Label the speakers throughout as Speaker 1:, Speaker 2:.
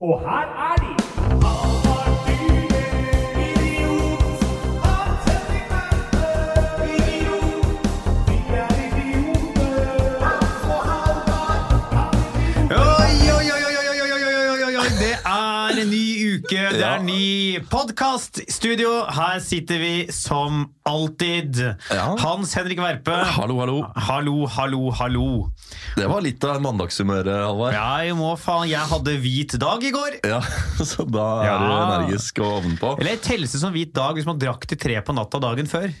Speaker 1: Og her er de!
Speaker 2: Oi, oi, oi, oi, oi, oi, oi, oi, oi, oi, oi. Det er en ny uke, det
Speaker 3: Ja.
Speaker 2: er ny podkast. Studio, her sitter vi som alltid.
Speaker 3: Ja.
Speaker 2: Hans Henrik Verpe.
Speaker 3: Hallo, hallo.
Speaker 2: Hallo, hallo, hallo.
Speaker 3: Det var litt av mandagshumøret, Halvard.
Speaker 2: Ja, jeg må faen. Jeg hadde hvit dag i går.
Speaker 3: Ja, så da er
Speaker 2: Ja.
Speaker 3: du energisk og ovenpå.
Speaker 2: Eller telles det som hvit dag hvis man drakk til tre på natta dagen før?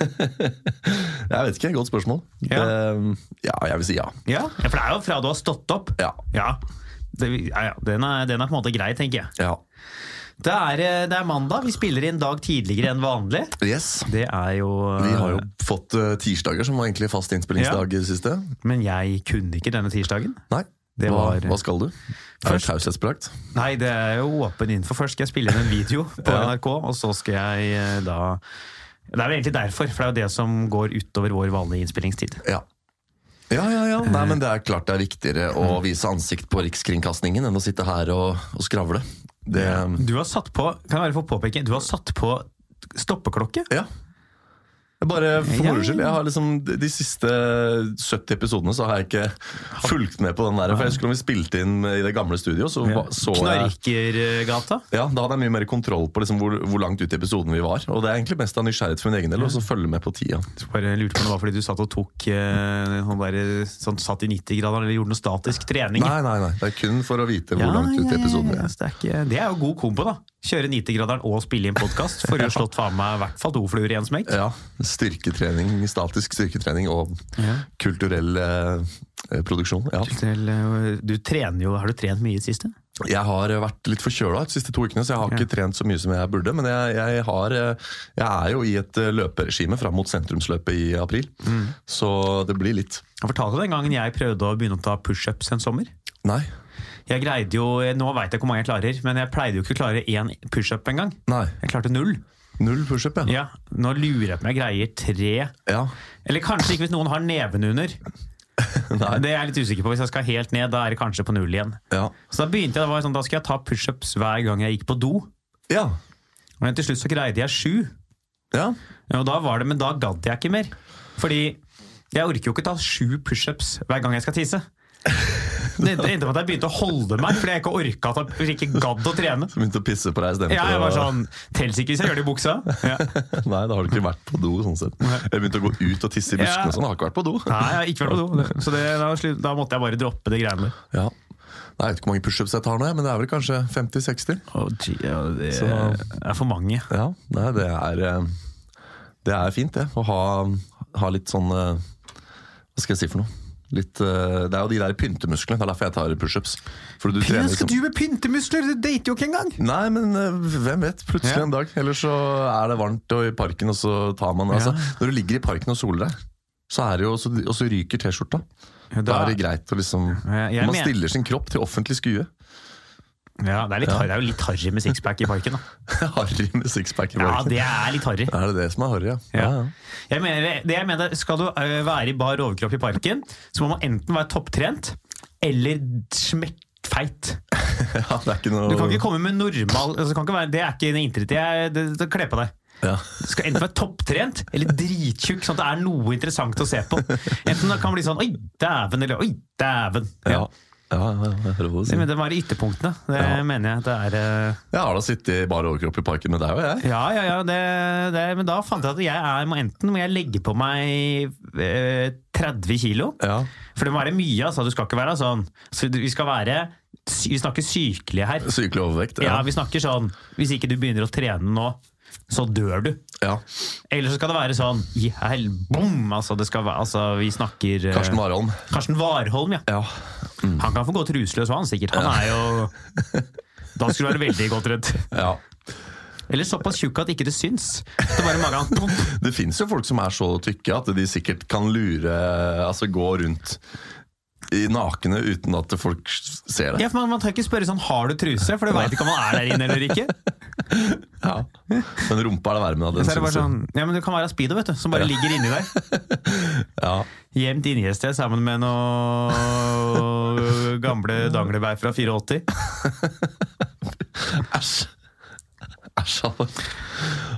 Speaker 3: Jeg vet ikke, godt spørsmål.
Speaker 2: Ja.
Speaker 3: Eh, ja, jeg vil si ja.
Speaker 2: Ja, For det er jo fra du har stått opp.
Speaker 3: Ja.
Speaker 2: Ja, det, ja, ja. Den, er, den er på en måte grei, tenker jeg.
Speaker 3: ja.
Speaker 2: Det er, eh, det er mandag. Vi spiller inn dag tidligere enn vanlig.
Speaker 3: Yes.
Speaker 2: Det er jo eh,
Speaker 3: Vi har jo fått eh, tirsdager, som var egentlig fast innspillingsdag i det siste.
Speaker 2: Men jeg kunne ikke denne tirsdagen.
Speaker 3: Nei.
Speaker 2: Det
Speaker 3: hva,
Speaker 2: var-
Speaker 3: hva skal du? Er det
Speaker 2: Først-
Speaker 3: taushetsbelagt?
Speaker 2: Nei, det er jo åpen info. Først skal jeg spille inn en video på NRK, og så skal jeg eh, da Det er vel egentlig derfor, for det er jo det som går utover vår vanlige innspillingstid.
Speaker 3: Ja. Ja, ja, ja. Nei, men det er klart det er viktigere å
Speaker 2: Mm.
Speaker 3: vise ansikt på Rikskringkastingen enn å sitte her og, og skravle. Det,
Speaker 2: Du har satt på kan jeg bare få påpeke, du har satt på stoppeklokke.
Speaker 3: Ja. Bare for
Speaker 2: Ja.
Speaker 3: moro skyld. Jeg har liksom, de siste 70 episodene så har jeg ikke fulgt med på den der. For jeg husker når vi spilte inn i det gamle studio, så va- så jeg
Speaker 2: Knarkergata.
Speaker 3: ja, Da hadde jeg mye mer kontroll på liksom hvor, hvor langt ut i episoden vi var. Og det er egentlig mest av nysgjerrighet for min egen del, og så følge med på tida.
Speaker 2: Så Bare lurte på om det var fordi du satt og tok eh, sånn der, sånn, satt i 90-graderen eller gjorde noe statisk trening.
Speaker 3: Nei, nei, nei. Det er kun for å vite
Speaker 2: Ja,
Speaker 3: hvor langt ut
Speaker 2: ja,
Speaker 3: i
Speaker 2: ja,
Speaker 3: episoden vi
Speaker 2: ja,
Speaker 3: er.
Speaker 2: så det, er ikke, det er jo god kombo, da. Kjøre 90-graderen og spille inn podkast. For å ha slått faen meg i hvert fall to fluer i en smekk.
Speaker 3: Ja. Styrketrening, statisk styrketrening og
Speaker 2: Ja.
Speaker 3: kulturell eh, eh, produksjon. Ja.
Speaker 2: Til, eh, Du trener jo, Har du trent mye i det siste?
Speaker 3: Jeg har vært litt forkjøla de siste to ukene, så jeg har
Speaker 2: Ja.
Speaker 3: ikke trent så mye som jeg burde. Men jeg, jeg, har, eh, jeg er jo i et eh, løperegime fram mot sentrumsløpet i april,
Speaker 2: Mm.
Speaker 3: så det blir litt.
Speaker 2: Jeg fortalte den gangen jeg prøvde å begynne å ta pushups en sommer.
Speaker 3: Nei.
Speaker 2: Jeg greide jo, Nå veit jeg ikke hvor mange jeg klarer, men jeg pleide jo ikke å klare én pushup engang.
Speaker 3: Nei.
Speaker 2: Jeg klarte null.
Speaker 3: Null pushup, ja.
Speaker 2: Ja, Nå lurer jeg på om jeg greier tre.
Speaker 3: Ja.
Speaker 2: Eller kanskje ikke hvis noen har neven under. Det er jeg litt usikker på. Hvis jeg skal helt ned, da er det kanskje på null igjen.
Speaker 3: Ja.
Speaker 2: Så Da begynte jeg, det var sånn, da skulle jeg ta pushups hver gang jeg gikk på do.
Speaker 3: ja.
Speaker 2: Men til slutt så greide jeg sju.
Speaker 3: ja.
Speaker 2: Og da var det, men da gadd jeg ikke mer. Fordi jeg orker jo ikke ta sju pushups hver gang jeg skal tisse. Det endte det endte med at jeg begynte å holde meg fordi jeg ikke orka at jeg ikke gadd å trene.
Speaker 3: Så begynte å pisse på deg istedenfor
Speaker 2: Ja, jeg var sånn Tels ikke hvis jeg gjør det i buksa. Ja.
Speaker 3: Nei, da har du ikke vært på do, sånn sett. Jeg begynte å gå ut og tisse
Speaker 2: Ja.
Speaker 3: i buskene og sånn. Jeg har ikke vært på do.
Speaker 2: Nei, jeg har ikke vært på do. Så det, da, slu- da måtte jeg bare droppe de greiene der.
Speaker 3: Ja. Nei, jeg vet ikke hvor mange pushups jeg tar nå, jeg, men det er vel kanskje 50-60.
Speaker 2: det
Speaker 3: Så-
Speaker 2: er for mange.
Speaker 3: Ja, nei, det er eh, Det er fint det, å ha, ha litt sånn eh, Hva skal jeg si for noe? Litt, eh, det er jo de der pyntemusklene. Det er derfor jeg tar pushups. For du trener liksom
Speaker 2: med pyntemuskler? Du dater jo ikke engang!
Speaker 3: Nei, men eh, hvem vet? Plutselig
Speaker 2: Ja.
Speaker 3: en dag. Eller så er det varmt og i parken, og så tar man altså, Når du ligger i parken og soler deg, så er det jo, og så- og så ryker T-skjorta. Da, er det greit å liksom
Speaker 2: Jeg- jeg
Speaker 3: Man
Speaker 2: men-
Speaker 3: stiller sin kropp til offentlig skue.
Speaker 2: Ja, det, er litt, harry- det er jo litt harry med sixpack i parken. Da.
Speaker 3: harry med sixpack i
Speaker 2: Ja,
Speaker 3: parken.
Speaker 2: det er litt harry.
Speaker 3: Er det det som er harry, ja?
Speaker 2: Ja.
Speaker 3: ja, ja.
Speaker 2: Jeg mener, det jeg mener, skal du ø, være i bar overkropp i parken, så må man enten være topptrent eller smekkfeit.
Speaker 3: ja det er ikke noe
Speaker 2: Du kan ikke komme med normal altså, kan ikke være, Det er ikke en interesse. Det er det, det, kle på deg.
Speaker 3: ja.
Speaker 2: Du skal enten være topptrent eller drittjukk, sånn at det er noe interessant å se på. Enten det kan bli sånn 'oi, dæven' eller 'oi, dæven'. Ja.
Speaker 3: Ja. Ja, ja, jeg hører hva du
Speaker 2: Det,
Speaker 3: sier.
Speaker 2: men det var i ytterpunktene. Det
Speaker 3: Ja.
Speaker 2: mener jeg. Det er ø,
Speaker 3: Jeg har da sittet i bar overkropp i parken med deg og jeg.
Speaker 2: Ja, ja, ja. Det, det, men da fant jeg at jeg er, må enten må jeg legge på meg ø, 30 kilo.
Speaker 3: Ja.
Speaker 2: For det må være mye, altså. Du skal ikke være sånn. Så du- vi skal være sy- Vi snakker sykelige her.
Speaker 3: Sykelig overvekt.
Speaker 2: Ja,
Speaker 3: Ja.
Speaker 2: vi snakker sånn Hvis ikke du begynner å trene nå, så dør du.
Speaker 3: Ja.
Speaker 2: Eller så skal det være sånn i hel... Bom! Altså, det skal være Altså, vi snakker eh,
Speaker 3: Karsten Warholm. Mm.
Speaker 2: Karsten Warholm, ja.
Speaker 3: Ja.
Speaker 2: Han kan få gå truseløs, han sikkert. Han er jo Da skulle du være veldig godt redd.
Speaker 3: ja.
Speaker 2: Eller såpass tjukk at ikke det syns. Det bare magen Bom!
Speaker 3: Det fins jo folk som er så tykke at de sikkert kan lure Altså gå rundt i nakne uten at folk ser det.
Speaker 2: Ja, for man, man tør ikke spørre sånn Har du truse? For du veit ikke om han er der inne eller ikke.
Speaker 3: Ja. Men rumpa er det varmen av. Den
Speaker 2: Så er det bare
Speaker 3: synes jeg.
Speaker 2: sånn, ja, men det kan være speedo, vet du, som bare ligger inni der.
Speaker 3: ja.
Speaker 2: Gjemt inni et sted sammen med noe gamle danglebær fra 84.
Speaker 3: Æsj. Æsj, altså. Halvor.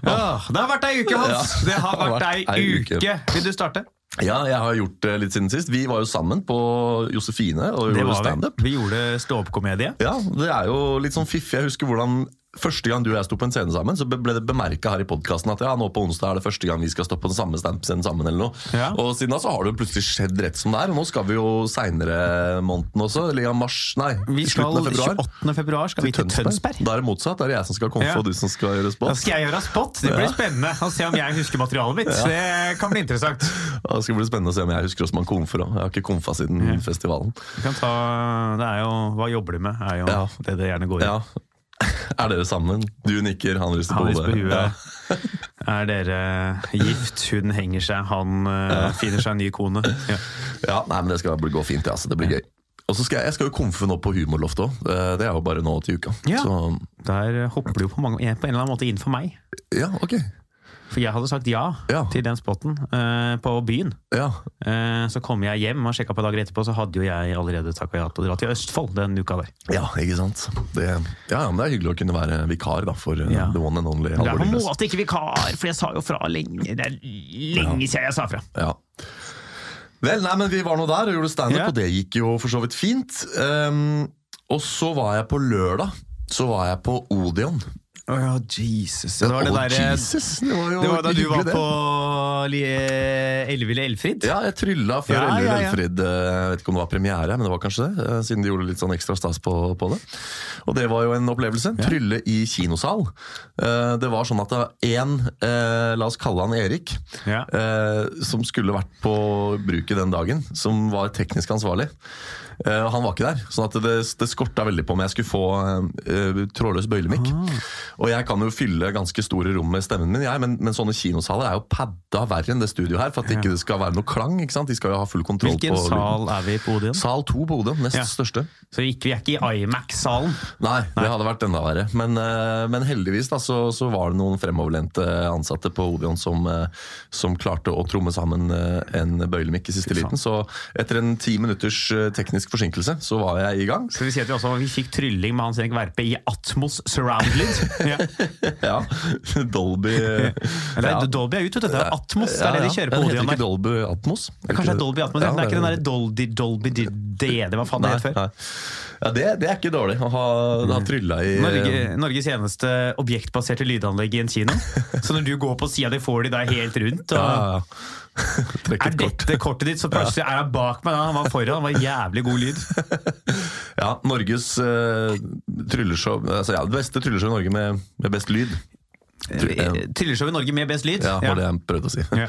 Speaker 2: Ja, det har vært ei uke, Hans!
Speaker 3: Ja,
Speaker 2: Det har vært ei
Speaker 3: uke.
Speaker 2: uke. Vil du starte?
Speaker 3: Ja, jeg har gjort det litt siden sist. Vi var jo sammen på Josefine og gjorde
Speaker 2: vi.
Speaker 3: standup.
Speaker 2: Vi gjorde stå-opp-komedie.
Speaker 3: Ja, det er jo litt sånn fiffig. Jeg husker hvordan Første gang du og jeg sto på en scene sammen, så ble det bemerka her i podkasten at ja, nå på onsdag er det første gang vi skal stå på den samme standup-scenen sammen. eller noe.
Speaker 2: Ja.
Speaker 3: Og siden da så har det jo plutselig skjedd rett som det er. Og nå skal vi jo seinere måneden også, eller ja, mars, nei,
Speaker 2: Vi skal 28. februar skal vi til Tønsberg.
Speaker 3: Da er det motsatt. Da er det jeg som skal komme,
Speaker 2: Ja.
Speaker 3: og du som skal gjøre
Speaker 2: Da
Speaker 3: spot.
Speaker 2: skal jeg gjøre spot. Det blir spennende å se om jeg husker materialet mitt. Det kan bli interessant.
Speaker 3: Ja, Det skal bli spennende å se om jeg husker hvordan man komfer òg. Jeg har ikke komfa siden festivalen.
Speaker 2: Vi kan ta, det er jo, Hva jobber du med? er jo
Speaker 3: Ja.
Speaker 2: det det gjerne går i.
Speaker 3: Ja. Er dere sammen? Du nikker, han rister
Speaker 2: Han
Speaker 3: på
Speaker 2: rister på
Speaker 3: hodet.
Speaker 2: huet. Er dere gift? Hun henger seg, han eh, finner seg en ny kone. Ja.
Speaker 3: Ja, nei, men det skal bli- gå fint, ja, så det blir gøy. Og så skal jeg, jeg skal jo komfe nå på Humorloftet òg. Det er jo bare nå til uka.
Speaker 2: Ja.
Speaker 3: Så
Speaker 2: Der hopper du jo på, mange, på en eller annen måte inn for meg.
Speaker 3: ja, ok.
Speaker 2: For jeg hadde sagt ja,
Speaker 3: Ja.
Speaker 2: til den spotten eh, på byen.
Speaker 3: Ja.
Speaker 2: Eh, så kom jeg hjem og sjekka på dager etterpå, så hadde jo jeg allerede takka ja til å dra til Østfold den uka der.
Speaker 3: ja, ikke sant. Det, ja, ja, men det er hyggelig å kunne være vikar da, for eh,
Speaker 2: Ja.
Speaker 3: the one and only
Speaker 2: Det er
Speaker 3: Halvor
Speaker 2: på en
Speaker 3: Lillenes.
Speaker 2: måte ikke vikar, for jeg sa jo fra lenge. Det er lenge siden jeg sa fra.
Speaker 3: Ja. Vel, nei, men vi var nå der og gjorde standup,
Speaker 2: Ja.
Speaker 3: og det gikk jo for så vidt fint. Ehm, og så var jeg på lørdag. Så var jeg på Odeon.
Speaker 2: Oh, Jesus. Det var det
Speaker 3: Å,
Speaker 2: derre
Speaker 3: Jesus, det var jo
Speaker 2: Det var da du var
Speaker 3: hyggelig, det.
Speaker 2: på Li- Elleville Elfrid.
Speaker 3: Ja, jeg trylla før
Speaker 2: Ja,
Speaker 3: Ellur
Speaker 2: ja, ja.
Speaker 3: Elfrid. eh, Jeg vet ikke om det var premiere, men det var kanskje det. eh, Siden de gjorde litt sånn ekstra stas på, på det. Og det var jo en opplevelse. Trylle i kinosal. Eh, Det var sånn at det var én, eh, la oss kalle han Erik,
Speaker 2: Ja.
Speaker 3: eh, som skulle vært på bruket den dagen, som var teknisk ansvarlig. Eh, og Han var ikke der, sånn at det, det skorta veldig på om jeg skulle få eh, trådløs bøylemikk. Og jeg kan jo fylle ganske store rom med stemmen min, jeg, men, men sånne kinosaler er jo padda verre enn det studioet her, for at ikke det skal være noe klang. ikke sant? De skal jo ha full kontroll
Speaker 2: Hvilken
Speaker 3: på
Speaker 2: sal er vi på Odeon?
Speaker 3: Sal 2 på Odeon, nest
Speaker 2: Ja.
Speaker 3: største.
Speaker 2: Så ikke, vi er ikke i Imax-salen.
Speaker 3: Nei, det hadde vært enda verre. Men, eh, men heldigvis da, så, så var det noen fremoverlente ansatte på Odeon som, eh, som klarte å tromme sammen eh, en bøylemikk i siste liten. Så etter en ti minutters eh, teknisk forsinkelse så var jeg i gang.
Speaker 2: Skal vi si at vi også vi fikk trylling med Hans Erik Verpe i Atmos surround lyd? Ja.
Speaker 3: Ja, Dolby eh,
Speaker 2: Eller,
Speaker 3: ja.
Speaker 2: Dolby er ute, vet du. Det er Atmos. Det er det de kjører på
Speaker 3: Den
Speaker 2: Odeon
Speaker 3: Heter
Speaker 2: der.
Speaker 3: ikke Dolby Atmos?
Speaker 2: Kanskje det er Dolby Atmos? Ja, det er ikke den
Speaker 3: det-
Speaker 2: derre Dolby Dolby DD, hva faen det het
Speaker 3: Nei,
Speaker 2: før? Mm.
Speaker 3: nei. Ja, det, det er ikke dårlig å ha, ha trylla i
Speaker 2: Norge, Norges eneste objektbaserte lydanlegg i en kino. Så når du går på sida di, får de deg helt rundt.
Speaker 3: Ja,
Speaker 2: Og
Speaker 3: ja, ja. Trekk
Speaker 2: er
Speaker 3: et kort.
Speaker 2: dette kortet ditt, så plutselig er han bak meg. da. Han var foran, han var jævlig god lyd.
Speaker 3: Ja, Norges eh, trylleshow altså, ja, Det beste trylleshow i Norge med, med best lyd.
Speaker 2: Eh, Trylleshow i Norge med best lyd.
Speaker 3: Ja, var det jeg prøvde å si.
Speaker 2: Ja.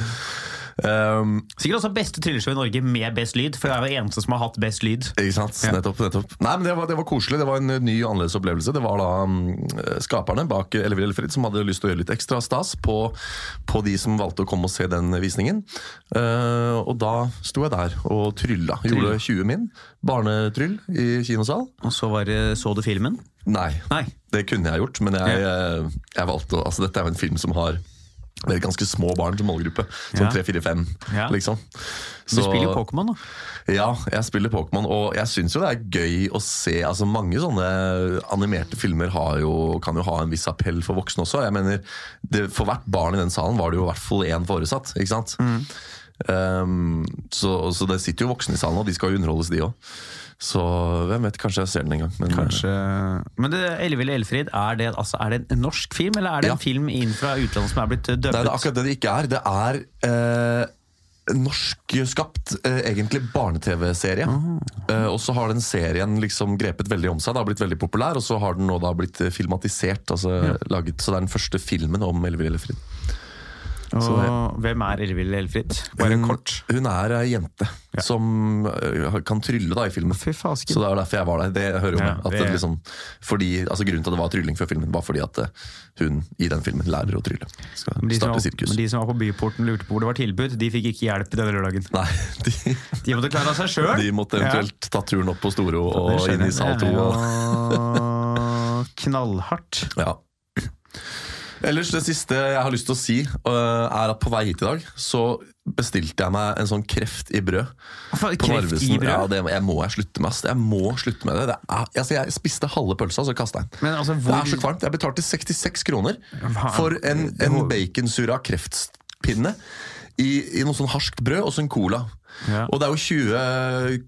Speaker 3: Um,
Speaker 2: Sikkert også beste trylleshow i Norge med best lyd, for det er jo eneste som har hatt best lyd.
Speaker 3: Ikke sant? Nettopp, nettopp. Nei, men det var, det var koselig. Det var en ny og annerledes opplevelse. Det var da mm, skaperne bak Ellevild Elfrid som hadde lyst til å gjøre litt ekstra stas på, på de som valgte å komme og se den visningen. Eh, og da sto jeg der og trylla. Gjorde 20 min. Barnetryll i kinosal.
Speaker 2: Og så var det Så du filmen?
Speaker 3: Nei,
Speaker 2: Nei.
Speaker 3: det kunne jeg gjort, men jeg, eh, jeg valgte å Altså, dette er jo en film som har vel ganske små barn som målgruppe.
Speaker 2: Ja.
Speaker 3: Sånn tre, fire, fem,
Speaker 2: Ja.
Speaker 3: liksom.
Speaker 2: Du
Speaker 3: Så-
Speaker 2: spiller jo Pokémon, da.
Speaker 3: ja, jeg spiller Pokémon, og jeg syns jo det er gøy å se altså Mange sånne animerte filmer har jo, kan jo ha en viss appell for voksne også. Jeg mener, det, For hvert barn i den salen var det jo i hvert fall én foresatt. ikke sant?
Speaker 2: Mm.
Speaker 3: Um, så, så det sitter jo voksne i salen, og de skal jo underholdes, de òg. Så hvem vet, kanskje jeg ser den en gang. Men,
Speaker 2: Men det, Elleville Elfrid, er det, altså, er det en norsk film, eller er det
Speaker 3: Ja.
Speaker 2: en film inn fra utlandet som er blitt eh,
Speaker 3: Nei, det er
Speaker 2: døpt?
Speaker 3: akkurat det det ikke er. Det er eh, norskskapt, eh, egentlig barne-TV-serie.
Speaker 2: Ah.
Speaker 3: Eh, og så har den serien liksom grepet veldig om seg. Det har blitt veldig populær, og så har den nå da blitt eh, filmatisert. altså laget, Så det er den første filmen om Elvira Elfrid.
Speaker 2: Og hvem er Elleville Elfrid? Bare
Speaker 3: Hun,
Speaker 2: kort.
Speaker 3: hun er ei jente som eh, kan trylle da i filmen.
Speaker 2: Fy fasken.
Speaker 3: Så det er derfor jeg var der. Det hører jo
Speaker 2: Ja,
Speaker 3: med. At
Speaker 2: det-
Speaker 3: det liksom, fordi, altså grunnen til at det var trylling før filmen, var fordi at eh, hun i den filmen lærer å trylle. Skal
Speaker 2: Men De som,
Speaker 3: starte
Speaker 2: var,
Speaker 3: sirkus.
Speaker 2: men de som var på Byporten lurte på hvor det var tilbud, de fikk ikke hjelp denne lørdagen.
Speaker 3: Nei, de,
Speaker 2: De måtte klare seg sjøl.
Speaker 3: De måtte eventuelt ta turen opp på Storo og inn i sal
Speaker 2: Det
Speaker 3: 2.
Speaker 2: er jo knallhardt.
Speaker 3: Ja. Ellers, det siste jeg har lyst til å si, øh, er at på vei hit i dag så bestilte jeg meg en sånn kreft i brød.
Speaker 2: Faen, Kreft i
Speaker 3: På Narvesen.
Speaker 2: brød?
Speaker 3: Ja, det, jeg må jeg slutte med. ass. Jeg må slutte med det. det er, altså, jeg spiste halve pølsa, så kasta jeg den.
Speaker 2: Men altså,
Speaker 3: Det
Speaker 2: hvor-
Speaker 3: er så kvalmt. Jeg betalte 66 kroner
Speaker 2: Hva?
Speaker 3: for en, en baconsura kreftpinne i, i noe sånn harskt brød og så en cola.
Speaker 2: Ja.
Speaker 3: Og det er jo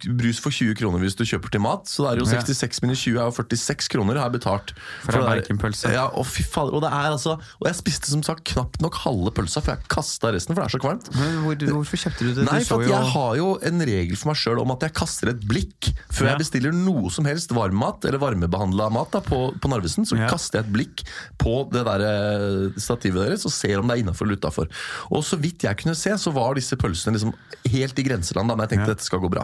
Speaker 3: 20 brus for 20 kroner hvis du kjøper til mat, så det er jo
Speaker 2: Ja.
Speaker 3: 66 minus 20 er jo 46 kroner har jeg betalt.
Speaker 2: For en
Speaker 3: det der.
Speaker 2: baconpølse.
Speaker 3: Ja, og fy faen, og det er altså Og jeg spiste som sagt knapt nok halve pølsa, for jeg kasta resten, for det er så kvalmt.
Speaker 2: Men hvor, hvorfor kjøpte du det?
Speaker 3: Nei,
Speaker 2: du
Speaker 3: for at jeg har jo en regel for meg sjøl om at jeg kaster et blikk før
Speaker 2: Ja.
Speaker 3: jeg bestiller noe som helst varmmat eller varmebehandla mat da, på, på Narvesen. Så
Speaker 2: Ja.
Speaker 3: kaster jeg et blikk på det der eh, stativet deres og ser om det er innafor eller utafor. Og så vidt jeg kunne se, så var disse pølsene liksom helt i grenseland. Da, men jeg tenkte dette skal gå bra.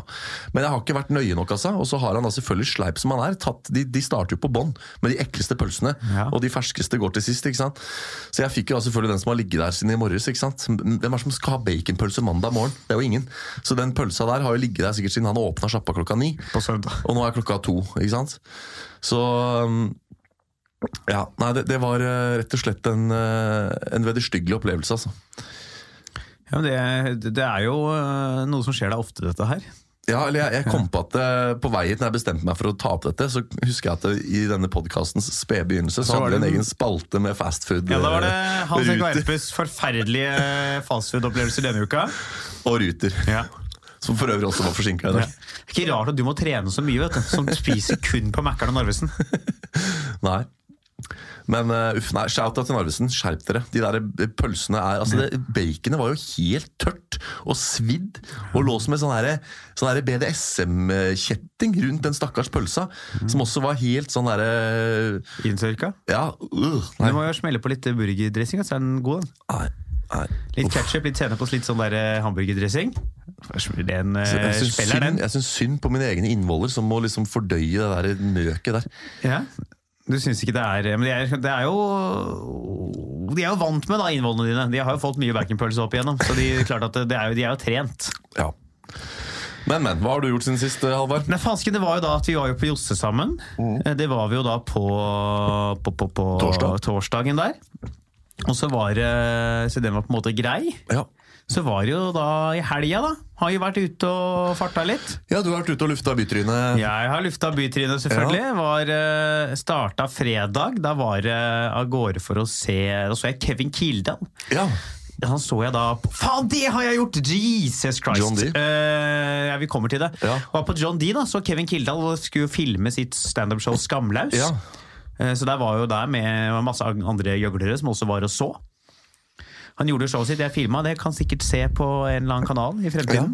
Speaker 3: Men jeg har ikke vært nøye nok, altså. Og så har han da selvfølgelig, sleip som han er, tatt De, de starter jo på bånn med de ekleste pølsene.
Speaker 2: Ja.
Speaker 3: Og de ferskeste går til sist. ikke sant? Så jeg fikk jo da selvfølgelig den som har ligget der siden i morges. ikke sant? Hvem er det som skal ha baconpølse mandag morgen? Det er jo ingen. Så den pølsa der har jo ligget der sikkert siden han åpna sjappa klokka ni.
Speaker 2: på søndag.
Speaker 3: Og nå er klokka to, ikke sant? Så um, ja, Nei, det, det var eh, rett og slett en, eh, en vederstyggelig opplevelse, altså.
Speaker 2: Ja, men det, det er jo øh, noe som skjer deg ofte, dette her.
Speaker 3: Ja, eller jeg, jeg kom på at eh, på vei hit når jeg bestemte meg for å ta opp dette, så husker jeg at det, i denne podkastens spede begynnelse så
Speaker 2: Så var
Speaker 3: hadde vi en
Speaker 2: det-
Speaker 3: egen spalte med fastfood
Speaker 2: Ja, Da var det
Speaker 3: eh,
Speaker 2: Hans Erik
Speaker 3: ruter,
Speaker 2: Verpes forferdelige fastfood-opplevelser denne uka.
Speaker 3: og ruter.
Speaker 2: Ja.
Speaker 3: Som for øvrig også var forsinka i
Speaker 2: Ja.
Speaker 3: dag.
Speaker 2: Det er ikke rart at du må trene så mye, vet du. Som spiser kun på Mækkern og Narvesen.
Speaker 3: Nei. Men eh, uff, nei, shout-out til Narvesen. Skjerp dere. De der eh, pølsene er altså det, Baconet var jo helt tørt og svidd og lå som en sånn derre- sånn derre BDSM-kjetting rundt den stakkars pølsa, som også var helt sånn derre
Speaker 2: Inntørka.
Speaker 3: Ja, øh,
Speaker 2: Du
Speaker 3: nei,
Speaker 2: må jo smelle på litt burgerdressing, så er den god. den.
Speaker 3: nei, nei.
Speaker 2: Litt ketchup, litt sennep og litt sånn der eh, hamburgerdressing. Smell Den eh,
Speaker 3: Så Jeg syns
Speaker 2: smeller,
Speaker 3: synd,
Speaker 2: den.
Speaker 3: jeg syns synd på mine egne innvoller som må liksom fordøye det der møket der.
Speaker 2: Ja. Du syns ikke det er eh, Men det er, det er jo De er jo vant med da, innvollene dine. De har jo fått mye baconpølse opp igjennom, så de, klart at det er jo, de er jo trent.
Speaker 3: Ja. Men, men. Hva har du gjort siden sist, Halvard?
Speaker 2: Nei, fansken, det var jo da at vi var jo på Josse sammen. Eh, Det var vi jo da på, på, på, på
Speaker 3: Torsdag.
Speaker 2: torsdagen der. Og så var det- Så den var på en måte grei.
Speaker 3: Ja.
Speaker 2: Så var det jo da i helga, da. Har jo vært ute og farta litt.
Speaker 3: ja, du har vært ute og lufta bytrynet.
Speaker 2: Jeg har lufta bytrynet, selvfølgelig. Var, eh, starta fredag. Da var det av gårde for å se Da så jeg Kevin Kildahl.
Speaker 3: Ja.
Speaker 2: Han så jeg da på Faen, det har jeg gjort! Jesus Christ!
Speaker 3: John D.
Speaker 2: Eh, ja, vi kommer til det.
Speaker 3: Ja.
Speaker 2: Var på John D, da, så Kevin Kildahl skulle jo filme sitt standup-show Skamlaus.
Speaker 3: Ja.
Speaker 2: Eh, så der var jo der med masse andre gjøglere som også var og så. Han gjorde showet sitt, jeg filma det, kan sikkert se på en eller annen kanal i fremtiden.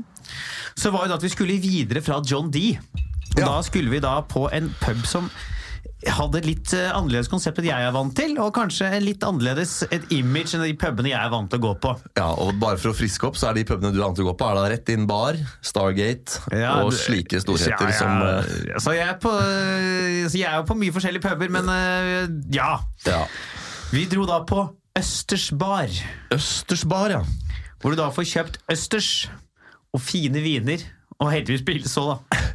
Speaker 2: Så var jo det at vi skulle videre fra John D. Og
Speaker 3: Ja.
Speaker 2: da skulle vi da på en pub som hadde et litt eh, annerledes konsept enn jeg er vant til, og kanskje en litt annerledes et image enn de pubene jeg er vant til å gå på.
Speaker 3: Ja, og bare for å friske opp, så er de pubene du annet å gå på, er da rett inn bar, Stargate
Speaker 2: Ja,
Speaker 3: og
Speaker 2: det-
Speaker 3: slike
Speaker 2: ja,
Speaker 3: storheter
Speaker 2: ja.
Speaker 3: som eh,
Speaker 2: Så jeg er på, eh, så jeg er jo på mye forskjellige puber, men eh, ja.
Speaker 3: ja.
Speaker 2: Vi dro da på Østers bar,
Speaker 3: Østers bar, ja.
Speaker 2: hvor du da får kjøpt østers og fine viner, og heldigvis pils òg, da.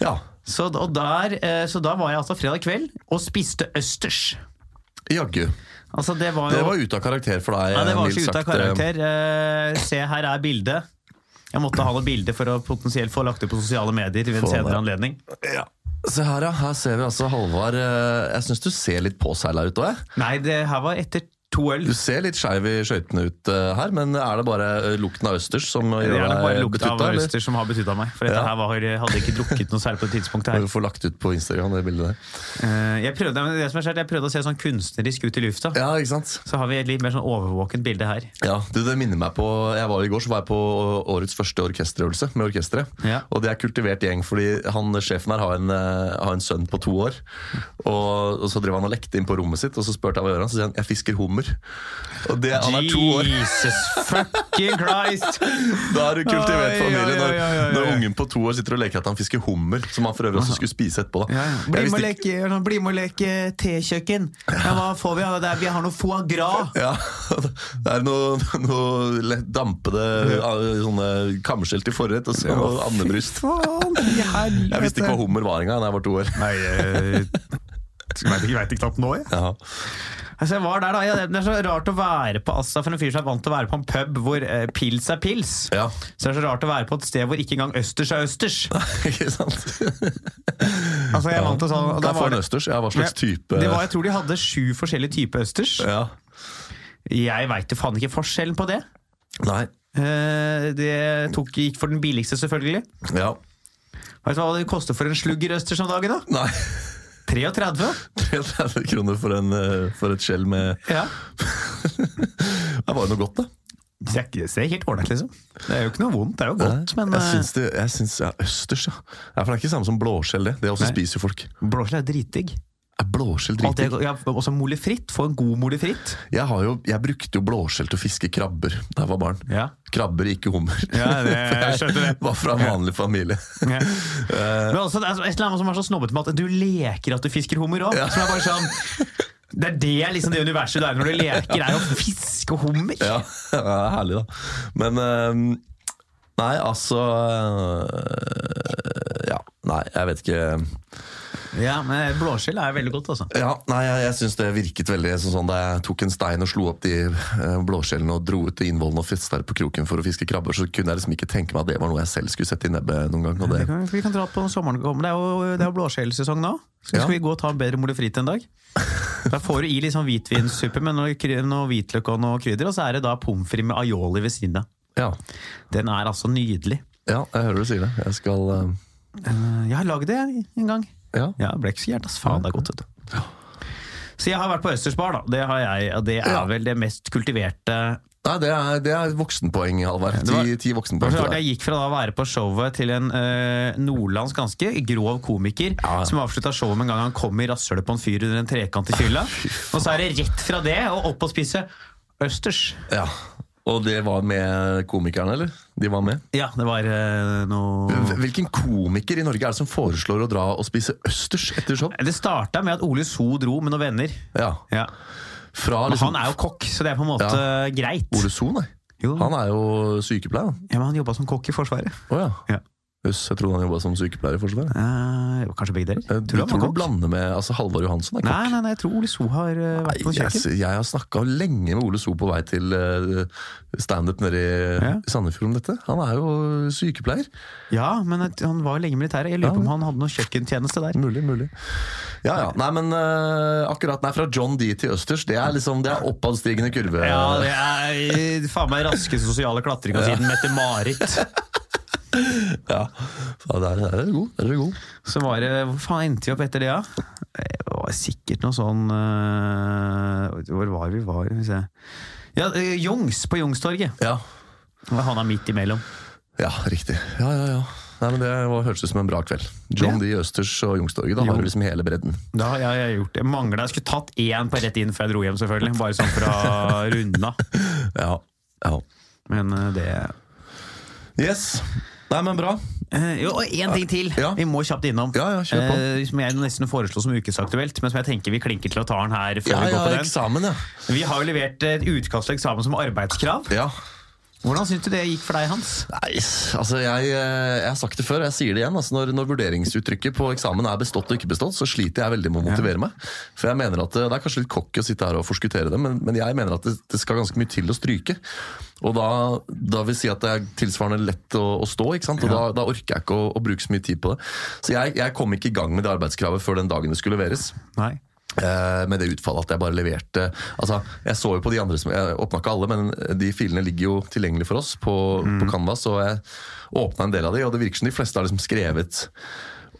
Speaker 3: ja.
Speaker 2: Så, og der, eh, så da var jeg altså fredag kveld og spiste østers.
Speaker 3: Jaggu.
Speaker 2: Altså, det var jo
Speaker 3: Det var ute av karakter for deg.
Speaker 2: Ja, det var
Speaker 3: mildt
Speaker 2: så ute av
Speaker 3: sagt, eh,
Speaker 2: karakter. Eh, se, her er bildet. Jeg måtte ha noe bilde for å potensielt få lagt det på sosiale medier ved en
Speaker 3: Få det.
Speaker 2: senere anledning.
Speaker 3: Ja. Se her, ja. Her ser vi altså Halvard eh, Jeg syns du ser litt påseila ut òg, jeg.
Speaker 2: Nei, det her var etter to øl.
Speaker 3: Du ser litt skeiv i skøytene ut eh, her, men er det bare eh, lukten av østers som
Speaker 2: Det
Speaker 3: gjør
Speaker 2: er nok bare
Speaker 3: deg
Speaker 2: lukta av
Speaker 3: betutta? eller?
Speaker 2: østers som har betydda meg. For dette
Speaker 3: Ja.
Speaker 2: her var, hadde jeg ikke drukket noe særlig på det tidspunktet her.
Speaker 3: Må jo få lagt ut på Instagram, det bildet der.
Speaker 2: Eh, Jeg prøvde, men det som er skjedd, jeg prøvde å se sånn kunstnerisk ut i lufta.
Speaker 3: Ja, ikke sant?
Speaker 2: Så har vi et litt mer sånn overvåkent bilde her.
Speaker 3: Ja, du, det minner meg på Jeg var i går så var jeg på årets første orkesterøvelse med orkesteret.
Speaker 2: Ja.
Speaker 3: Og det er kultivert gjeng, fordi han, sjefen her har en, eh, har en sønn på to år. Og, og så drev han og lekte inn på rommet sitt, og så spurte jeg hva gjør han, så sier han 'jeg fisker hummer'. Og det, han er to år!
Speaker 2: Jesus fucking Christ!
Speaker 3: Da er du kultivert
Speaker 2: Oi,
Speaker 3: familie.
Speaker 2: oi, oi, oi, oi, oi.
Speaker 3: Når, når ungen på to år sitter og leker at han fisker hummer, som han for øvrig også skulle spise etterpå. Da. Jeg
Speaker 2: Bli med
Speaker 3: visste
Speaker 2: og
Speaker 3: ikke-
Speaker 2: leke, sånn, bli med og leke tekjøkken. Ja, hva får vi? Ja, det er, vi har noe foie gras.
Speaker 3: Ja, Det er noe, noe lett dampede ah, sånne kamskjell til forrett og, så- og andebryst.
Speaker 2: Faen, i helvete.
Speaker 3: Jeg visste ikke hva hummer var engang da eh, jeg var to år.
Speaker 2: Nei, jeg, jeg veit ikke knapt nå, jeg.
Speaker 3: Ja.
Speaker 2: Altså, jeg var der da. Ja, det- det er så rart å være på Assa for en fyr som er vant til å være på en pub hvor eh, pils er pils.
Speaker 3: Ja,
Speaker 2: Så det er så rart å være på et sted hvor ikke engang østers er østers.
Speaker 3: ikke sant?
Speaker 2: Altså, jeg er vant til sånn, og da
Speaker 3: Kan jeg få
Speaker 2: var
Speaker 3: en
Speaker 2: det-
Speaker 3: østers? Ja, hva slags type?
Speaker 2: Det var, jeg tror de hadde sju forskjellige typer østers.
Speaker 3: ja.
Speaker 2: Jeg veit jo faen ikke forskjellen på det.
Speaker 3: Nei.
Speaker 2: Eh, Det tok, gikk for den billigste, selvfølgelig.
Speaker 3: Ja.
Speaker 2: Vet du hva det koster for en sluggerøsters om dagen? da?
Speaker 3: Nei.
Speaker 2: 33?
Speaker 3: 33 kroner for, en, eh, for et skjell med
Speaker 2: Ja.
Speaker 3: Det var jo noe godt, da.
Speaker 2: Det er, ikke- det er helt ålreit, liksom. Det er jo ikke noe vondt, det er jo godt, men eh,
Speaker 3: jeg syns det jeg syns, ja, Østers, ja. ja. For det er ikke samme som blåskjell, det. Det også
Speaker 2: Nei.
Speaker 3: spiser jo folk.
Speaker 2: eh, blåskjell er dritdigg.
Speaker 3: Er blåskjell
Speaker 2: Alt det-
Speaker 3: dritdigg?
Speaker 2: Ja, også mole fritt. Få en god mole fritt.
Speaker 3: Jeg, har jo- jeg brukte jo blåskjell til å fiske krabber da jeg var barn.
Speaker 2: Ja.
Speaker 3: Krabber, ikke hummer.
Speaker 2: Ja, det-
Speaker 3: For
Speaker 2: jeg skjønte det.
Speaker 3: Var fra en vanlig familie. Eh.
Speaker 2: Men også, det er så- et eller annet som er så snobbete med at du leker at du fisker hummer òg. Som er bare sånn Det er det liksom det universet du er når du leker, er å fiske hummer.
Speaker 3: Ja, det er herlig, da. Men eh, Nei, altså eh, Ja, nei, jeg vet ikke.
Speaker 2: Ja, men blåskjell er veldig godt, altså.
Speaker 3: Ja, nei, jeg, jeg syns det virket veldig sånn, sånn da jeg tok en stein og slo opp de eh, blåskjellene og dro ut til innvollene og festa det på kroken for å fiske krabber, så kunne jeg liksom ikke tenke meg at det var noe jeg selv skulle sette i nebbet noen gang. Og det.
Speaker 2: Det kan, vi kan dra på når sommeren kommer. Det er jo, det er jo blåskjellsesong nå. Skal,
Speaker 3: Ja.
Speaker 2: skal vi gå og ta en bedre mole fritt en dag? Da får du i litt sånn hvitvinssuppe med noe, kry- noe hvitløk og noe krydder, og så er det da pommes frites med aioli ved siden av.
Speaker 3: Ja,
Speaker 2: Den er altså nydelig.
Speaker 3: ja, jeg hører du sier det. Jeg skal eh,
Speaker 2: Eh, Jeg har lagd det jeg, en gang.
Speaker 3: Ja.
Speaker 2: Ja, det ble ikke så gærent. ass. Faen, det er godt, vet du. Så jeg har vært på Østers bar, da. Det, har jeg, og det er
Speaker 3: Ja.
Speaker 2: vel det mest kultiverte
Speaker 3: Nei, det er, det er voksenpoeng, Halvard.
Speaker 2: Det var-
Speaker 3: Ti, ti
Speaker 2: Det
Speaker 3: voksenpoeng
Speaker 2: var så
Speaker 3: til
Speaker 2: rart
Speaker 3: deg.
Speaker 2: Jeg gikk fra da å være på showet til en eh, nordlandsk ganske grov komiker
Speaker 3: Ja.
Speaker 2: som avslutta showet med en gang han kom i rasshølet på en fyr under en trekant i fylla. Og så er det rett fra det og opp og spise østers.
Speaker 3: Ja. Og det var med komikerne, eller? De var med?
Speaker 2: Ja, det var eh, noe
Speaker 3: Hvil- Hvilken komiker i Norge er det som foreslår å dra og spise østers etter show?
Speaker 2: Det starta med at Ole So dro med noen venner.
Speaker 3: Ja.
Speaker 2: Ja.
Speaker 3: Fra
Speaker 2: Men
Speaker 3: liksom
Speaker 2: han er jo kokk, så det er på en måte greit.
Speaker 3: Ole So, nei.
Speaker 2: Jo.
Speaker 3: Han er jo sykepleier, han.
Speaker 2: Ja, men han jobba som kokk i Forsvaret.
Speaker 3: Å ja.
Speaker 2: Ja.
Speaker 3: Jøss, jeg trodde han jobba som sykepleier i Forsvaret.
Speaker 2: Eh, jo, kanskje begge deler?
Speaker 3: Jeg
Speaker 2: Tror du
Speaker 3: tror,
Speaker 2: han var
Speaker 3: du
Speaker 2: kokk?
Speaker 3: blander med altså, Halvard Johansson. Er kokk.
Speaker 2: Nei, nei, nei, jeg tror Ole So har eh, vært på
Speaker 3: Nei, jeg,
Speaker 2: kjøkken.
Speaker 3: s- jeg har snakka lenge med Ole So på vei til eh, standup nede i
Speaker 2: Ja.
Speaker 3: Sandefjord om dette. Han er jo sykepleier.
Speaker 2: Ja, men at han var jo lenge i militæret. Jeg lurer på
Speaker 3: Ja.
Speaker 2: om han hadde noe kjøkkentjeneste der.
Speaker 3: Mulig, mulig. Ja, ja. Nei, men eh, akkurat nei, fra John D til østers, det er liksom det er oppadstigende kurve.
Speaker 2: Ja, det er faen meg raskeste sosiale klatringa siden Mette-Marit.
Speaker 3: Ja. Faen, Der, der er du god. Der er du god.
Speaker 2: Så var det Hvor faen endte vi opp etter det, da? Eh, Det var sikkert noe sånn eh, Hvor var vi? Var, vi se. Ja, eh, Jungs på Jungstorget.
Speaker 3: Ja.
Speaker 2: Det var Han er midt imellom.
Speaker 3: ja, riktig. Ja, ja, ja. Nei, men Det var, hørtes ut som en bra kveld. John D. Østers og Youngstorget. Da har du liksom hele bredden.
Speaker 2: Da har jeg gjort det. Mangla Jeg skulle tatt én på rett inn før jeg dro hjem, selvfølgelig. Bare sånn for å runde av.
Speaker 3: Ja, ja.
Speaker 2: Men eh, det
Speaker 3: Yes. Nei, men bra.
Speaker 2: Eh, Jo, og én ting til
Speaker 3: Ja.
Speaker 2: vi må kjapt innom.
Speaker 3: Ja, ja, kjør på.
Speaker 2: Eh, som jeg nesten foreslo som ukesaktuelt, men som jeg tenker vi klinker til og tar den her. før
Speaker 3: Ja,
Speaker 2: Vi går
Speaker 3: ja,
Speaker 2: på den.
Speaker 3: eksamen, ja.
Speaker 2: Vi har jo levert et utkast til eksamen som arbeidskrav.
Speaker 3: ja.
Speaker 2: Hvordan syns du det gikk for deg, Hans?
Speaker 3: Nei, altså jeg, eh, jeg har sagt det før, og jeg sier det igjen. Altså når, når vurderingsuttrykket på eksamen er bestått og ikke bestått, så sliter jeg veldig med å motivere meg. For jeg mener at eh, Det er kanskje litt cocky å sitte her og forskuttere det, men, men jeg mener at det, det skal ganske mye til å stryke. Og da, da vil si at det er tilsvarende lett å, å stå, ikke sant? og da, da orker jeg ikke å, å bruke så mye tid på det. Så jeg, jeg kom ikke i gang med det arbeidskravet før den dagen det skulle leveres.
Speaker 2: Nei.
Speaker 3: Eh, Med det utfallet at jeg bare leverte Altså, Jeg så jo på de andre som Jeg åpna ikke alle, men de filene ligger jo tilgjengelig for oss på,
Speaker 2: Mm.
Speaker 3: på Canvas. Og jeg åpna en del av de, og det virker som de fleste har liksom skrevet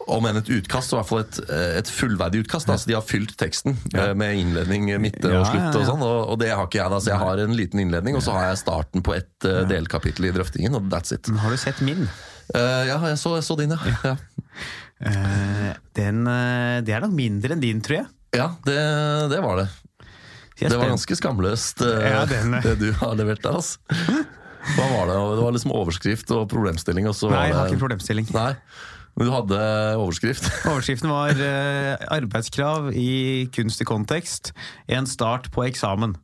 Speaker 3: om enn et utkast, så i hvert fall et, eh, et fullverdig utkast. Da. Så de har fylt teksten eh, med innledning, midte
Speaker 2: Ja,
Speaker 3: og slutt.
Speaker 2: ja, ja.
Speaker 3: Og sånn, og, og det har ikke jeg. da, Så jeg har en liten innledning, og så har jeg starten på ett eh, delkapittel i drøftingen, og that's it.
Speaker 2: Men har du sett min?
Speaker 3: Eh, ja, jeg så, jeg så din, ja. ja.
Speaker 2: Eh, den, eh, det er nok mindre enn din, tror jeg.
Speaker 3: Ja, det, det var det.
Speaker 2: jeg er
Speaker 3: Det var
Speaker 2: spent.
Speaker 3: ganske skamløst, eh,
Speaker 2: Ja, den, eh.
Speaker 3: det du har levert der. Altså. Hva var det? Det var liksom overskrift og problemstilling. Og så
Speaker 2: Nei, jeg
Speaker 3: var
Speaker 2: har
Speaker 3: det...
Speaker 2: ikke problemstilling.
Speaker 3: Nei, men du hadde overskrift.
Speaker 2: Overskriften var eh, 'Arbeidskrav i kunstig kontekst'. En start på eksamen.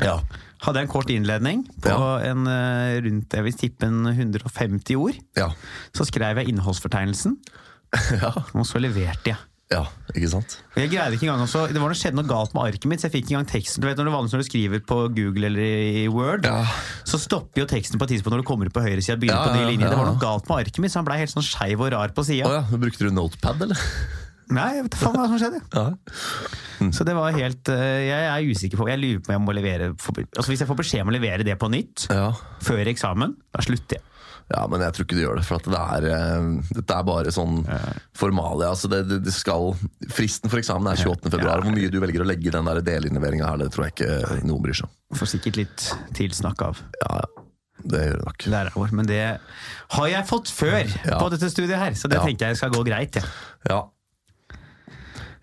Speaker 3: Ja.
Speaker 2: Hadde jeg en kort innledning på
Speaker 3: Ja.
Speaker 2: en, eh, rundt jeg vil tippe en 150 ord.
Speaker 3: Ja.
Speaker 2: Så skrev jeg innholdsfortegnelsen,
Speaker 3: ja.
Speaker 2: og så leverte jeg.
Speaker 3: Ja, ikke sant?
Speaker 2: Jeg greide ikke engang også, Det var noe skjedde noe galt med arket mitt, så jeg fikk ikke engang teksten. Du vet når du, vanligvis når du skriver på Google eller i Word,
Speaker 3: Ja.
Speaker 2: så stopper jo teksten på et tidspunkt når du kommer ut på høyresida. begynner
Speaker 3: Ja,
Speaker 2: på
Speaker 3: ja,
Speaker 2: nye linjer.
Speaker 3: ja.
Speaker 2: Det var noe galt med arket mitt, så han blei helt sånn skeiv og rar på
Speaker 3: Å
Speaker 2: sida.
Speaker 3: ja, brukte du notepad, eller?
Speaker 2: Nei, jeg vet faen hva som skjedde.
Speaker 3: Ja. Mm.
Speaker 2: Så det var helt eh, Jeg er usikker på Jeg lurer på om jeg må levere for, altså Hvis jeg får beskjed om å levere det på nytt
Speaker 3: ja.
Speaker 2: før eksamen, da slutter jeg.
Speaker 3: Ja, men jeg tror ikke du gjør det, for at det er, eh, dette er bare sånn formalia. Altså det, det, det skal, fristen for eksamen er 28. februar. Hvor mye du velger å legge i den der delinnleveringa her, det tror jeg ikke noen bryr seg om.
Speaker 2: Får sikkert litt tilsnakk av
Speaker 3: Ja, ja. Det gjør det nok.
Speaker 2: læreren vår, men det har jeg fått før
Speaker 3: Ja.
Speaker 2: på dette studiet her, så det
Speaker 3: Ja.
Speaker 2: tenker jeg skal gå greit. Ja.
Speaker 3: Ja.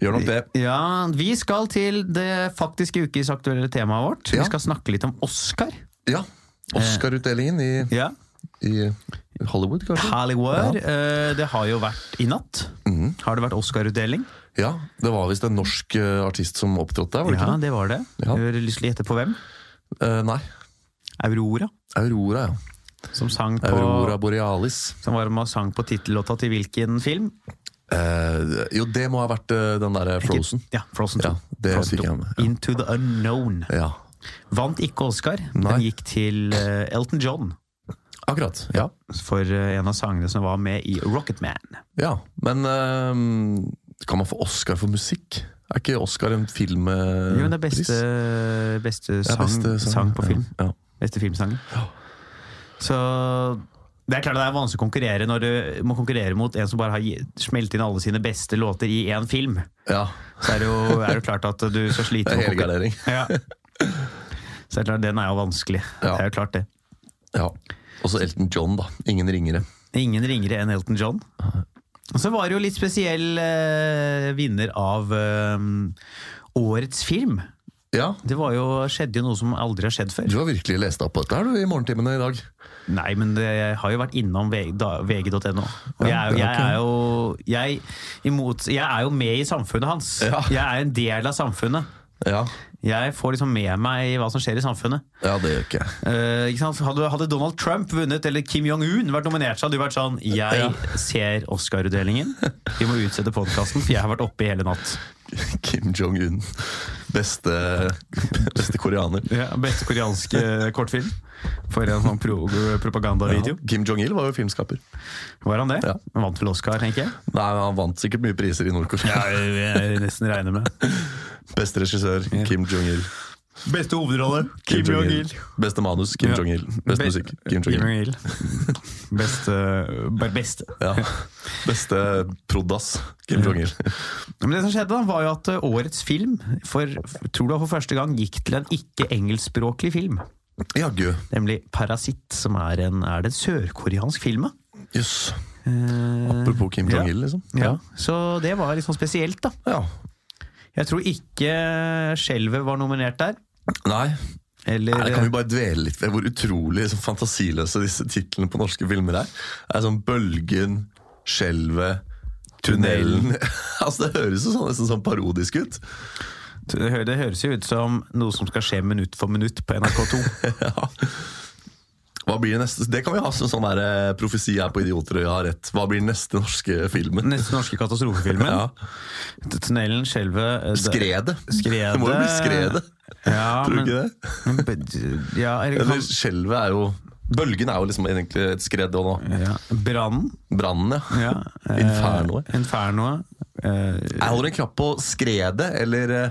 Speaker 3: Gjør nok det.
Speaker 2: Ja, Vi skal til det faktiske ukes aktuelle temaet vårt.
Speaker 3: Ja.
Speaker 2: Vi skal snakke litt om Oscar.
Speaker 3: Ja. Oscar-utdelingen i,
Speaker 2: Ja.
Speaker 3: i Hollywood, kanskje?
Speaker 2: Hollywood. eh, Det har jo vært i natt.
Speaker 3: Mhm.
Speaker 2: Har det vært Oscar-utdeling?
Speaker 3: Ja, Det var visst en norsk eh, artist som opptrådte der, var det
Speaker 2: Ja,
Speaker 3: ikke det?
Speaker 2: det var det.
Speaker 3: Ja.
Speaker 2: Har du lyst til å gjette på hvem?
Speaker 3: Eh, nei.
Speaker 2: Aurora,
Speaker 3: Aurora, ja.
Speaker 2: som sang på
Speaker 3: Aurora borealis.
Speaker 2: Som var med og sang på tittellåta til hvilken film?
Speaker 3: Eh, jo, det må ha vært eh, den derre Frozen.
Speaker 2: Ja, Frozen 2.
Speaker 3: Ja, det
Speaker 2: Frozen
Speaker 3: fikk jeg
Speaker 2: 2.
Speaker 3: med, ja.
Speaker 2: Into the Unknown.
Speaker 3: Ja,
Speaker 2: Vant ikke Oscar,
Speaker 3: Nei.
Speaker 2: den gikk til eh, Elton John.
Speaker 3: akkurat. Ja.
Speaker 2: For eh, en av sangene som var med i Rocket Man.
Speaker 3: ja. Men eh, kan man få Oscar for musikk? Er ikke Oscar en eh, filmpris?
Speaker 2: Jo, det er beste, beste, sang, sang, på film.
Speaker 3: Ja.
Speaker 2: Beste filmsangen.
Speaker 3: Ja.
Speaker 2: Så det er klart det er vanskelig å konkurrere når du må konkurrere mot en som bare har gi- smelt inn alle sine beste låter i én film.
Speaker 3: ja.
Speaker 2: Så er det jo, er det jo klart at du så
Speaker 3: Det
Speaker 2: sliter
Speaker 3: er
Speaker 2: med å konkurrere.
Speaker 3: helgardering.
Speaker 2: Ja. Så det er klart, den er jo vanskelig.
Speaker 3: Ja.
Speaker 2: Det er jo klart det.
Speaker 3: Ja. Og så Elton John, da. Ingen ringere.
Speaker 2: Ingen ringere enn Elton John. Og så var det jo litt spesiell eh, vinner av eh, årets film.
Speaker 3: Ja,
Speaker 2: Det var jo, skjedde jo noe som aldri har skjedd før.
Speaker 3: du har virkelig lest deg opp på dette her du, i morgentimene i dag.
Speaker 2: Nei, men det jeg har jo vært innom VG da- vg.no. Og jeg,
Speaker 3: Ja,
Speaker 2: er
Speaker 3: det
Speaker 2: jo-
Speaker 3: er
Speaker 2: jeg er jo jeg, imot, jeg er jo med i samfunnet hans.
Speaker 3: Ja.
Speaker 2: Jeg er en del av samfunnet.
Speaker 3: Ja,
Speaker 2: Jeg får liksom med meg hva som skjer i samfunnet.
Speaker 3: ja det gjør ikke jeg.
Speaker 2: Eh, ikke sant? Hadde, hadde Donald Trump vunnet, eller Kim Jong-un vært nominert, så hadde du vært sånn Jeg
Speaker 3: Ja.
Speaker 2: ser Oscar-utdelingen. Vi må utsette podkasten, for jeg har vært oppe i hele natt.
Speaker 3: Kim Jong-un. Beste, beste koreaner.
Speaker 2: Ja, beste koreanske kortfilm. For en sånn pro propagandavideo.
Speaker 3: Kim Jong-il var jo filmskaper.
Speaker 2: Var han det?
Speaker 3: Ja.
Speaker 2: Han Vant vel Oscar, tenker jeg.
Speaker 3: Nei, men Han vant sikkert mye priser i Nord-Korea.
Speaker 2: jeg nesten regner med.
Speaker 3: Beste regissør, Kim Jong-il.
Speaker 2: Beste hovedrolle, Kim Jong-il.
Speaker 3: Beste manus, Kim
Speaker 2: Ja.
Speaker 3: Jong-il. Beste
Speaker 2: Be-
Speaker 3: musikk, Kim
Speaker 2: Kim
Speaker 3: Jong-il.
Speaker 2: Jong-il. Beste, bare beste.
Speaker 3: Ja. Beste prod.ass, Kim Jong-il.
Speaker 2: Men det som skjedde da, var jo at eh, årets film, for, tror du for første gang, gikk til en ikke-engelskspråklig film.
Speaker 3: Jaggu.
Speaker 2: Nemlig 'Parasitt', som er en, er det en sørkoreansk film. da?
Speaker 3: Jøss.
Speaker 2: Eh,
Speaker 3: Apropos Kim
Speaker 2: Ja.
Speaker 3: Jong-il, liksom.
Speaker 2: ja. Så det var litt sånn spesielt, da.
Speaker 3: ja.
Speaker 2: Jeg tror ikke Skjelvet var nominert der.
Speaker 3: Nei,
Speaker 2: Eller
Speaker 3: Nei, kan vi bare dvele litt ved hvor utrolig liksom, fantasiløse disse titlene på norske filmer er? Det er sånn Bølgen, Skjelvet, Tunnelen Altså Det høres jo sånn, nesten sånn parodisk ut.
Speaker 2: det, hø- det høres jo ut som noe som skal skje minutt for minutt på NRK2.
Speaker 3: Ja. Hva blir neste? Det kan vi ha som sånn der, eh, profesi her på Idioter og jeg har rett. Hva blir neste norske filmen?
Speaker 2: Neste norske katastrofefilmen.
Speaker 3: Ja.
Speaker 2: Tunnelen, Skjelvet eh, det-
Speaker 3: Skredet.
Speaker 2: Skredet.
Speaker 3: Det må jo bli Skredet.
Speaker 2: Ja,
Speaker 3: Tror du
Speaker 2: men-
Speaker 3: ikke det?
Speaker 2: men be- Ja, eller
Speaker 3: Eller
Speaker 2: kan,
Speaker 3: skjelvet er jo Bølgen er jo liksom egentlig et skred og nå.
Speaker 2: ja. Brannen.
Speaker 3: Brannen, ja.
Speaker 2: Ja. eh,
Speaker 3: Infernoet.
Speaker 2: Infernoet. Eh,
Speaker 3: Jeg holder en knapp på skredet eller, eh,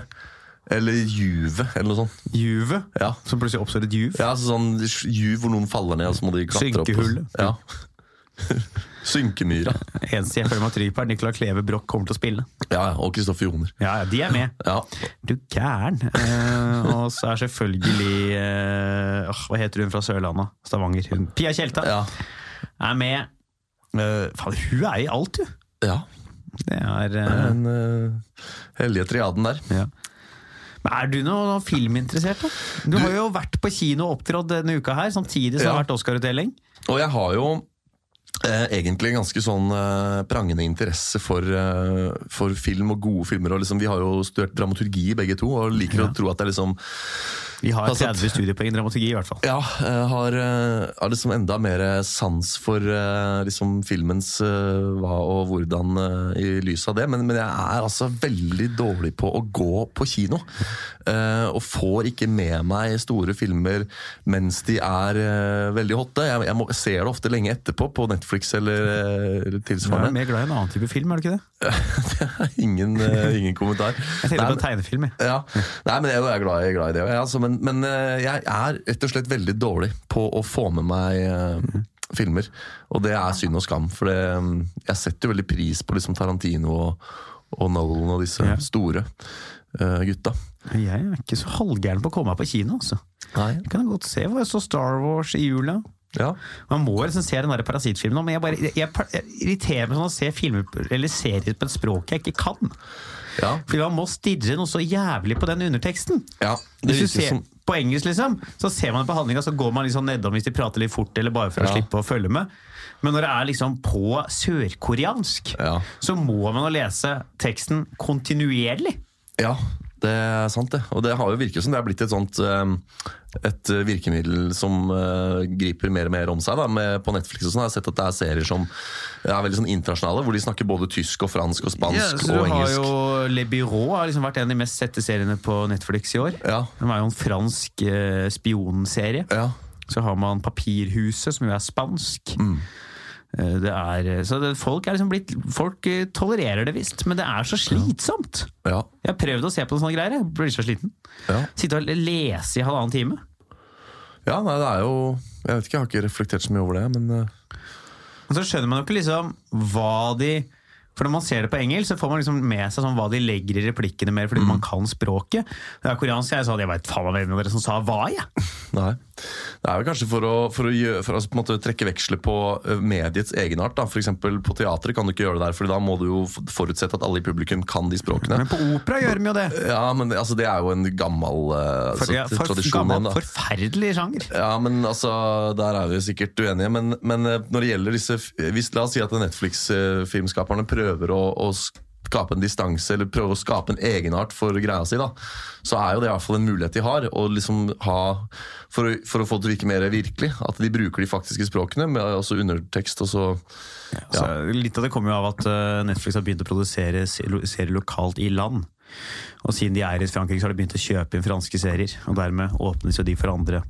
Speaker 3: eller juvet, eller noe sånt.
Speaker 2: Juvet,
Speaker 3: Ja.
Speaker 2: som plutselig oppstår et juv.
Speaker 3: Ja, altså sånn juv hvor noen faller ned, og så må de klatre opp.
Speaker 2: Synkehullet.
Speaker 3: Ja. Synkemyra.
Speaker 2: Eneste jeg føler meg trygg på, er Nicolai Kleve Broch kommer til å spille.
Speaker 3: Ja, ja, og Kristoffer Joner.
Speaker 2: Ja, ja, de er med.
Speaker 3: Ja.
Speaker 2: Du gæren. Eh, og så er selvfølgelig eh, åh, Hva heter hun fra Sørlandet? Stavanger. Hun. Pia Tjelta
Speaker 3: Ja.
Speaker 2: er med. Eh, faen, hun er i alt, hun!
Speaker 3: ja.
Speaker 2: Det er eh,
Speaker 3: Den eh, hellige triaden der.
Speaker 2: ja. Men er du noe filminteressert, da? Du har jo vært på kino og opptrådt denne uka her, samtidig som det har
Speaker 3: Ja.
Speaker 2: vært Oscar-utdeling.
Speaker 3: Og jeg har jo eh, egentlig en ganske sånn eh, prangende interesse for, eh, for film og gode filmer. Og liksom, vi har jo studert dramaturgi begge to, og liker å tro at det er liksom
Speaker 2: Vi har
Speaker 3: Altså,
Speaker 2: 30 studiepoeng i dramaturgi, i hvert fall.
Speaker 3: Ja, eh, har, eh, har liksom enda mer sans for eh, liksom filmens eh, hva og hvordan eh, i lys av det. Men, men jeg er altså veldig dårlig på å gå på kino. Eh, Og får ikke med meg store filmer mens de er eh, veldig hotte. Jeg, jeg må, ser det ofte lenge etterpå på Netflix eller, eh, eller
Speaker 2: Du er
Speaker 3: tilsvarende.
Speaker 2: mer glad i en annen type film, er du ikke det?
Speaker 3: ingen, eh, ingen kommentar.
Speaker 2: Jeg tenkte
Speaker 3: Nei,
Speaker 2: på en tegnefilm. jeg.
Speaker 3: ja. Nei, men jeg er jo glad, i- glad i det. Ja, altså, men, men eh, jeg er rett og slett veldig dårlig på å få med meg eh, filmer. Og det er synd og skam, for det, mm, jeg setter jo veldig pris på liksom Tarantino og, og Nolan og disse
Speaker 2: Ja.
Speaker 3: store eh, gutta.
Speaker 2: Jeg er ikke så halvgæren på å komme meg på kino, altså.
Speaker 3: Nei.
Speaker 2: Jeg kan godt se hvor jeg så Star Wars i jula.
Speaker 3: Ja.
Speaker 2: Man må liksom se den der parasittfilmen nå, men jeg, bare, jeg, jeg, irriterer meg sånn å se filmer på- eller serier på et språk jeg ikke kan.
Speaker 3: Ja.
Speaker 2: Fordi man må stirre noe så jævlig på den underteksten.
Speaker 3: ja.
Speaker 2: Hvis
Speaker 3: Det
Speaker 2: du
Speaker 3: virker
Speaker 2: ser
Speaker 3: som
Speaker 2: på engelsk, liksom, så ser man det på handlinga, så går man liksom nedom hvis de prater litt fort, eller bare for å
Speaker 3: Ja.
Speaker 2: slippe å følge med. Men når det er liksom på sørkoreansk,
Speaker 3: Ja.
Speaker 2: så må man jo lese teksten kontinuerlig.
Speaker 3: Ja, det er sant det. Og det har jo virket som det er blitt et sånt eh, et virkemiddel som eh, griper mer og mer om seg. Da. Med, på Netflix og sånn har jeg sett at det er serier som er veldig sånn internasjonale, hvor de snakker både tysk og fransk og spansk
Speaker 2: så
Speaker 3: og
Speaker 2: du har
Speaker 3: engelsk.
Speaker 2: jo Le Byrå har liksom vært en av de mest sette seriene på Netflix i år.
Speaker 3: Ja,
Speaker 2: Den var jo en fransk eh, spionserie.
Speaker 3: ja,
Speaker 2: Så har man Papirhuset, som jo er spansk.
Speaker 3: Mm.
Speaker 2: Eh, Det er, så det, folk, er liksom blitt, folk eh, tolererer det visst, men det er så slitsomt.
Speaker 3: ja,
Speaker 2: Jeg har prøvd å se på sånne greier. Jeg blir så sliten.
Speaker 3: ja.
Speaker 2: Sitte og lese i halvannen time.
Speaker 3: ja nei, det er jo Jeg vet ikke, jeg har ikke reflektert så mye over det, men eh,
Speaker 2: Og så skjønner man jo ikke liksom hva de For når man ser det på engelsk, så får man liksom med seg sånn hva de legger i replikkene mer,
Speaker 3: Mm.
Speaker 2: fordi man kan språket. Når jeg er koreansk, jeg sa jeg veit faen hvem av dere som sa hva, jeg.
Speaker 3: Nei. Det er vel kanskje for å, for å, gjø- for å på en måte trekke veksler på ø, mediets egenart. da. For eksempel på teatret kan du ikke gjøre det der, for da må du jo f- forutsette at alle i publikum kan de språkene.
Speaker 2: Men på opera gjør de jo det.
Speaker 3: Ja, men det- altså, det er jo en gammel eh,
Speaker 2: For,
Speaker 3: altså,
Speaker 2: ja, for,
Speaker 3: tradisjon. igjen,
Speaker 2: gammel,
Speaker 3: da.
Speaker 2: forferdelig sjanger.
Speaker 3: Ja, men altså, Der er vi sikkert uenige, men, men eh, når det gjelder disse f- hvis, La oss si at Netflix-filmskaperne prøver å, å skape en distanse, eller prøver å skape en egenart for greia si, da, så er jo det i hvert fall en mulighet de har. Å liksom ha, for, å, for å få det til å virke mer virkelig. At de bruker de faktiske språkene, med også undertekst og så
Speaker 2: Så Altså, litt av det kommer jo av at eh, Netflix har begynt å produsere se- lo- serier lokalt i land. Og siden de er i Frankrike, så har de begynt å kjøpe inn franske serier. Og dermed åpnes jo de for andre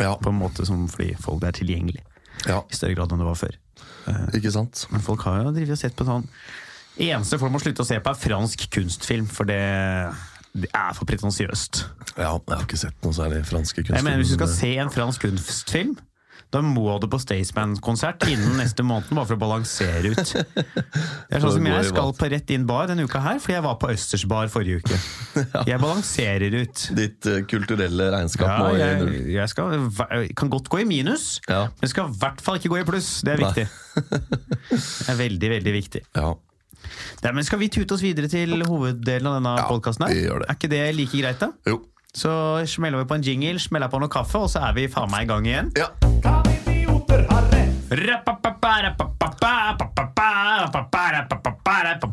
Speaker 3: Ja,
Speaker 2: på en måte som fordi folk er tilgjengelig
Speaker 3: ja
Speaker 2: i større grad enn det var før.
Speaker 3: ikke sant?
Speaker 2: Men folk har jo drivet og sett på sånn Eneste folk må slutte å se på, er fransk kunstfilm, for det, det er for pretensiøst.
Speaker 3: Ja, jeg har ikke sett noe særlig franske kunstfilmer.
Speaker 2: Jeg mener, Hvis du skal se en fransk kunstfilm, da må du på Staysman-konsert innen neste måned, bare for å balansere ut. Det er sånn som jeg skal på Rett Inn Bar denne uka her, fordi jeg var på Østers Bar forrige uke. Jeg balanserer ut.
Speaker 3: Ditt eh, kulturelle regnskap
Speaker 2: Ja,
Speaker 3: må i
Speaker 2: jeg,
Speaker 3: null.
Speaker 2: jeg skal, jeg kan godt gå i minus,
Speaker 3: Ja.
Speaker 2: men skal i hvert fall ikke gå i pluss. Det er
Speaker 3: Nei.
Speaker 2: viktig. Det er veldig, veldig viktig.
Speaker 3: Ja.
Speaker 2: Nei, men Skal vi tute oss videre til hoveddelen av denne
Speaker 3: Ja,
Speaker 2: podcasten
Speaker 3: vi
Speaker 2: her?
Speaker 3: gjør det.
Speaker 2: Er ikke det like greit, da?
Speaker 3: Jo.
Speaker 2: Så smeller vi på en jingle, smeller på noe kaffe, og så er vi faen meg i gang igjen.
Speaker 3: Ja.
Speaker 2: Å,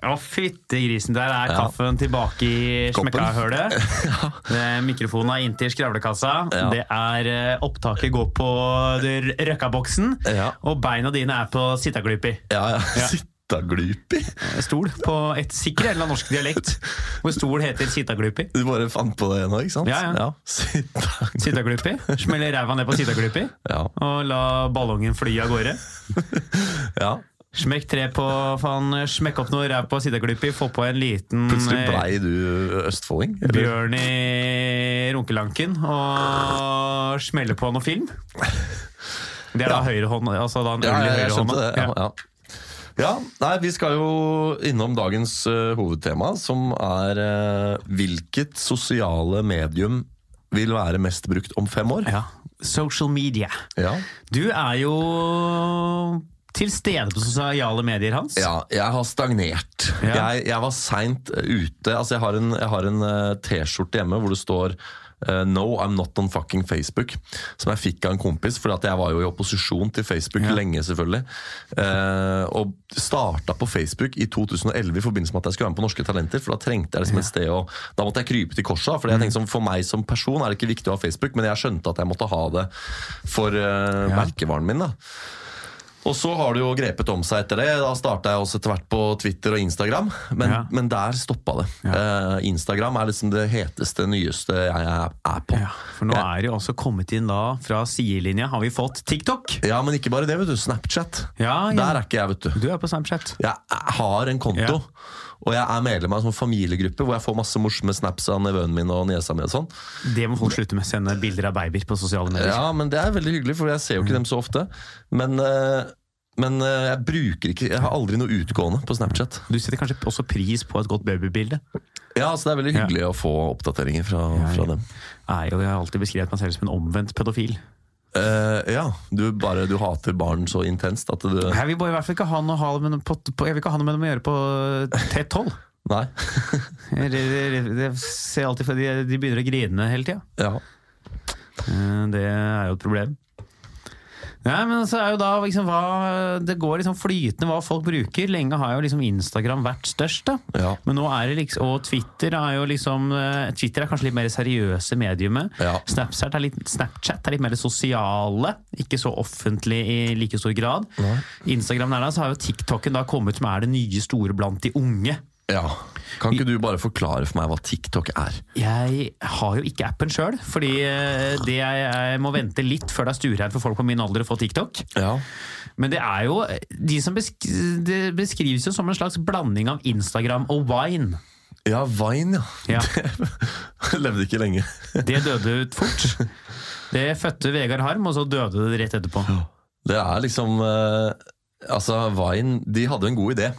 Speaker 3: Wow.
Speaker 2: fytte grisen, der er kaffen tilbake i
Speaker 3: Koppen.
Speaker 2: smekkahølet. Eh, Mikrofonen er inntil skravlekassa.
Speaker 3: Ja.
Speaker 2: Det er eh, Opptaket går på r- røkkaboksen,
Speaker 3: Ja.
Speaker 2: og beina dine er på sittaglupi.
Speaker 3: Ja, ja.
Speaker 2: Ja.
Speaker 3: Sittaglupi?
Speaker 2: Stol på et sikkert eller annet norsk dialekt, hvor stol heter sittaglupi.
Speaker 3: Du bare fant på det nå, ikke sant?
Speaker 2: Ja, ja.
Speaker 3: Sittaglupi.
Speaker 2: Sittaglupi. Smelle ræva ned på sittaglupi
Speaker 3: Ja.
Speaker 2: og la ballongen fly av gårde.
Speaker 3: ja.
Speaker 2: Smekk tre på faen, smekk opp noe ræv på sittaglupi, få på en liten
Speaker 3: Plutselig
Speaker 2: eh,
Speaker 3: blei du østfolding? eller?
Speaker 2: bjørn i runkelanken og smelle på noe film. Det er da
Speaker 3: Ja.
Speaker 2: høyrehånd, altså da en øl
Speaker 3: Ja,
Speaker 2: i
Speaker 3: jeg, jeg skjønte
Speaker 2: høyrehånda.
Speaker 3: det. Ja,
Speaker 2: Ja.
Speaker 3: ja. ja, nei, vi skal jo innom dagens eh, hovedtema, som er eh, hvilket sosiale medium vil være mest brukt om fem år?
Speaker 2: Ja. Social media.
Speaker 3: Ja.
Speaker 2: Du er jo til stede på sosiale medier, Hans.
Speaker 3: Ja, jeg har stagnert.
Speaker 2: Ja.
Speaker 3: Jeg, jeg var seint ute. Altså, jeg har en, jeg har en eh, T-skjorte hjemme hvor det står eh, No, I'm not on fucking Facebook, som jeg fikk av en kompis. For jeg var jo i opposisjon til Facebook lenge, selvfølgelig. Eh, og starta på Facebook i 2011 i forbindelse med at jeg skulle være med på Norske Talenter. For da trengte jeg liksom et sted å Da måtte jeg krype til korset. For
Speaker 2: Mm.
Speaker 3: jeg tenkte sånn, for meg som person er det ikke viktig å ha Facebook, men jeg skjønte at jeg måtte ha det for eh, merkevaren min. da og så har det jo grepet om seg etter det. Da starta jeg også etter hvert på Twitter og Instagram, men,
Speaker 2: Ja.
Speaker 3: men der stoppa det. Eh, Instagram er liksom det heteste, nyeste jeg er på.
Speaker 2: Ja, for nå er det jo også kommet inn da, fra sidelinja har vi fått TikTok.
Speaker 3: Ja, men ikke bare det, vet du. Snapchat.
Speaker 2: Ja, ja.
Speaker 3: Der er ikke jeg, vet du.
Speaker 2: Du er på Snapchat.
Speaker 3: Jeg har en konto,
Speaker 2: Ja.
Speaker 3: og jeg er medlem av en sånn familiegruppe hvor jeg får masse morsomme snaps av nevøen min og niesa mi og sånn.
Speaker 2: Det må folk slutte med. Sende bilder av babyer på sosiale medier.
Speaker 3: Ja, men det er veldig hyggelig, for jeg ser jo ikke dem så ofte. Men, eh, men eh, jeg bruker ikke Jeg har aldri noe utgående på Snapchat.
Speaker 2: Du setter kanskje også pris på et godt babybilde.
Speaker 3: Ja, så det er veldig hyggelig å få oppdateringer fra,
Speaker 2: ja.
Speaker 3: fra dem.
Speaker 2: Nei, og Jeg har alltid beskrevet meg selv som en omvendt pedofil.
Speaker 3: Eh, ja, du, bare, du hater barn så intenst at du
Speaker 2: Jeg vil bare i hvert fall ikke ha noe, ha med, noe på, på, jeg vil ikke ha noe med dem å gjøre på T12.
Speaker 3: Nei.
Speaker 2: Jeg- jeg- jeg- jeg ser alltid for de, de begynner å grine hele tida.
Speaker 3: ja.
Speaker 2: Eh, Det er jo et problem. Nei, men så er jo da liksom, hva, Det går liksom flytende hva folk bruker. Lenge har jo liksom Instagram vært størst. da
Speaker 3: Ja.
Speaker 2: Men nå er det liksom, Og Twitter er jo liksom eh, Twitter er kanskje litt mer det seriøse mediumet.
Speaker 3: Ja.
Speaker 2: Snapchat, er litt, Snapchat er litt mer det sosiale. Ikke så offentlig i like stor grad. Instagram der da, så har jo TikToken da kommet som er det nye store blant de unge.
Speaker 3: ja. Kan ikke du bare forklare for meg hva TikTok er?
Speaker 2: Jeg har jo ikke appen sjøl, fordi eh, det jeg, jeg må vente litt før det er stuereint for folk på min alder å få TikTok.
Speaker 3: Ja.
Speaker 2: Men det er jo de som besk det beskrives jo som en slags blanding av Instagram og wine.
Speaker 3: ja, Vine,
Speaker 2: Ja.
Speaker 3: ja. Levde ikke lenge.
Speaker 2: Det døde ut fort. Det fødte Vegard Harm, og så døde det rett etterpå.
Speaker 3: Det er liksom eh, Altså, Vine de hadde en god idé,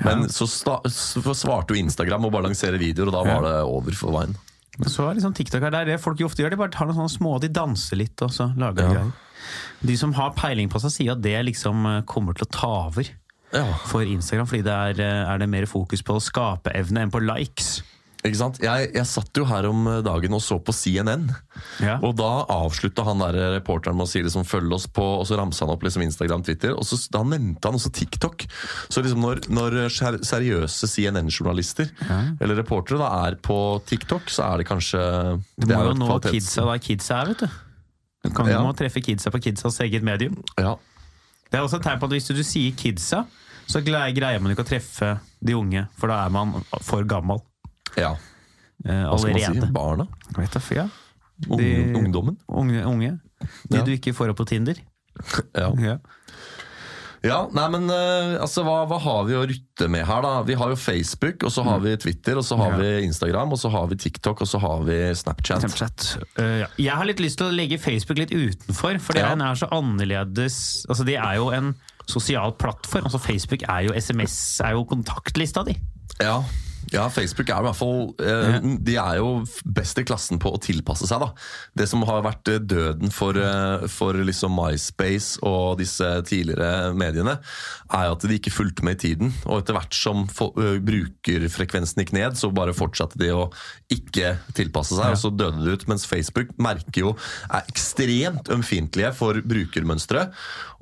Speaker 3: men så, sta så svarte jo Instagram å bare lansere videoer, og da var det over for Vine.
Speaker 2: Men Så er liksom TikTok her, det er det folk jo ofte gjør. De bare tar noen sånne små, de danser litt og så lager de
Speaker 3: Ja.
Speaker 2: greier. De som har peiling på seg, sier at det liksom eh, kommer til å ta over
Speaker 3: Ja,
Speaker 2: for Instagram, fordi det er, eh, er det mer fokus på skapeevne enn på likes.
Speaker 3: ikke sant? Jeg, jeg satt jo her om dagen og så på CNN.
Speaker 2: Ja.
Speaker 3: Og da avslutta han der reporteren med å si liksom, 'følg oss på', og så ramsa han opp liksom, Instagram, Twitter, og så, da nevnte han også TikTok. Så liksom når, når ser- seriøse CNN-journalister eller reportere da er på TikTok, så er det kanskje
Speaker 2: Du
Speaker 3: det
Speaker 2: må
Speaker 3: er
Speaker 2: jo
Speaker 3: et
Speaker 2: nå
Speaker 3: kvalitets-
Speaker 2: kidsa der kidsa er, vet du. Du kan jo
Speaker 3: Ja.
Speaker 2: må treffe kidsa på kidsas eget medium.
Speaker 3: Ja.
Speaker 2: Det er også et tegn på at hvis du, du sier kidsa, så gle- greier man ikke å treffe de unge, for da er man for gammel
Speaker 3: ja.
Speaker 2: eh,
Speaker 3: Hva skal man
Speaker 2: allerede.
Speaker 3: si? Barna?
Speaker 2: Vet du, ja.
Speaker 3: Ung,
Speaker 2: De-
Speaker 3: Ungdommen?
Speaker 2: Unge. unge. De
Speaker 3: Ja.
Speaker 2: du ikke får opp på Tinder.
Speaker 3: Ja.
Speaker 2: Ja.
Speaker 3: Ja, nei, men eh, altså, hva, hva har vi å rutte med her, da? Vi har jo Facebook, og så har vi Twitter, og så har
Speaker 2: Mm. Ja.
Speaker 3: vi Instagram, og så har vi TikTok, og så har vi Snapchat.
Speaker 2: Eh, ja. Jeg har litt lyst til å legge Facebook litt utenfor, for
Speaker 3: Ja.
Speaker 2: den er så annerledes. Altså, det er jo en sosial plattform. Altså, Facebook er jo SMS, er jo kontaktlista di.
Speaker 3: Ja. ja, Facebook er i hvert fall eh, De er jo best i klassen på å tilpasse seg. da. Det som har vært eh, døden for, eh, for liksom MySpace og disse tidligere mediene, er jo at de ikke fulgte med i tiden. Og etter hvert som fo- ø, brukerfrekvensen gikk ned, så bare fortsatte de å ikke tilpasse seg, og så døde det ut. Mens Facebook merker jo er ekstremt ømfintlige for brukermønstre,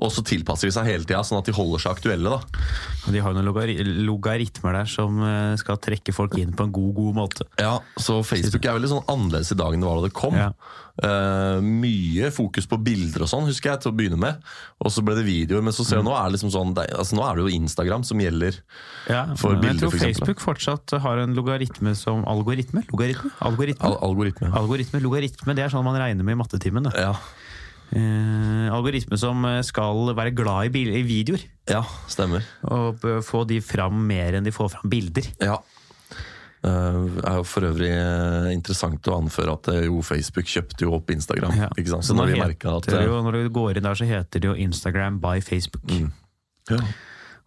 Speaker 3: og så tilpasser de seg hele tida, sånn at de holder seg aktuelle. da.
Speaker 2: Og de har jo noen logari logaritmer der som eh, skal trekke folk inn på en god, god måte.
Speaker 3: Ja, så Facebook er veldig sånn annerledes i dag enn det var da det kom.
Speaker 2: Ja.
Speaker 3: Eh, mye fokus på bilder og sånn, husker jeg, til å begynne med. Og så ble det videoer, men så ser du
Speaker 2: Mm.
Speaker 3: nå er det liksom sånn det, er- altså, Nå er det jo Instagram som gjelder.
Speaker 2: Ja,
Speaker 3: For
Speaker 2: men
Speaker 3: bilder,
Speaker 2: jeg tror
Speaker 3: for eksempel.
Speaker 2: Facebook fortsatt har en logaritme som algoritme. Logaritme? Algoritme?
Speaker 3: Al algoritme.
Speaker 2: Algoritme, logaritme, det er sånn man regner med i mattetimen. da.
Speaker 3: Ja.
Speaker 2: Eh, algoritme som eh, skal være glad i, bil i videoer,
Speaker 3: ja, stemmer.
Speaker 2: og b- få de fram mer enn de får fram bilder.
Speaker 3: Ja. Eh, er jo for øvrig eh, interessant å anføre at eh, jo, Facebook kjøpte jo opp Instagram. Ikke sant? Så
Speaker 2: nå
Speaker 3: når de
Speaker 2: heter
Speaker 3: merka at
Speaker 2: det
Speaker 3: eh, Mm.
Speaker 2: jo, Når du går inn der, så heter det jo Instagram by Facebook.
Speaker 3: ja.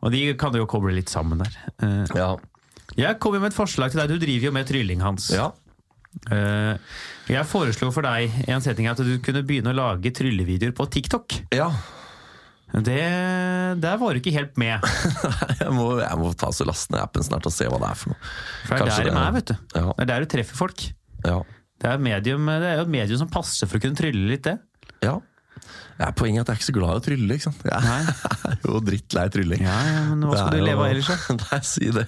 Speaker 2: Og de kan du jo koble litt sammen der. Eh,
Speaker 3: Ja.
Speaker 2: jeg kommer med et forslag til deg. Du driver jo med trylling, Hans.
Speaker 3: ja.
Speaker 2: Eh, jeg foreslo for deg i en setting at du kunne begynne å lage tryllevideoer på TikTok.
Speaker 3: ja.
Speaker 2: Det, der var du ikke helt med.
Speaker 3: Jeg, må, jeg må ta så laste ned appen snart og se hva det er for noe.
Speaker 2: For det er
Speaker 3: Kanskje
Speaker 2: der de er, vet du.
Speaker 3: Ja.
Speaker 2: Det er der du treffer folk.
Speaker 3: Ja.
Speaker 2: Det er, et medium, eh, det er jo et medium som passer for å kunne trylle litt, det.
Speaker 3: Ja. Ja, poenget er at jeg er ikke så glad i å trylle. ikke sant? Jeg er jo drittlei trylling.
Speaker 2: Ja, ja, men hva
Speaker 3: Det
Speaker 2: skal
Speaker 3: er
Speaker 2: du
Speaker 3: jo-
Speaker 2: leve av ellers, da?
Speaker 3: Nei, si det.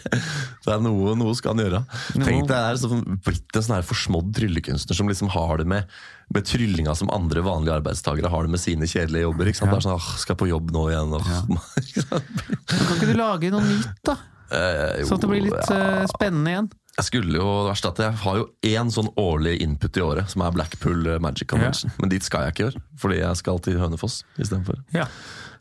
Speaker 3: Det er noe, noe skal han gjøre. Tenk deg, det er sånn, blitt en sånn her forsmådd tryllekunstner som liksom har det med, med tryllinga som andre vanlige arbeidstagere har det med sine kjedelige jobber. ikke sant? Det er sånn, åh, skal på jobb nå igjen. Åh. Ikke sant?
Speaker 2: Men Kan ikke du lage noe nytt, da?
Speaker 3: Eh, jo,
Speaker 2: Sånn at det blir litt
Speaker 3: ja.
Speaker 2: eh, spennende igjen.
Speaker 3: Jeg skulle jo, det verste er at jeg har jo én sånn årlig input i året, som er Blackpool eh, Magic Convention. Men dit skal jeg ikke i år, fordi jeg skal til Hønefoss istedenfor.
Speaker 2: Ja.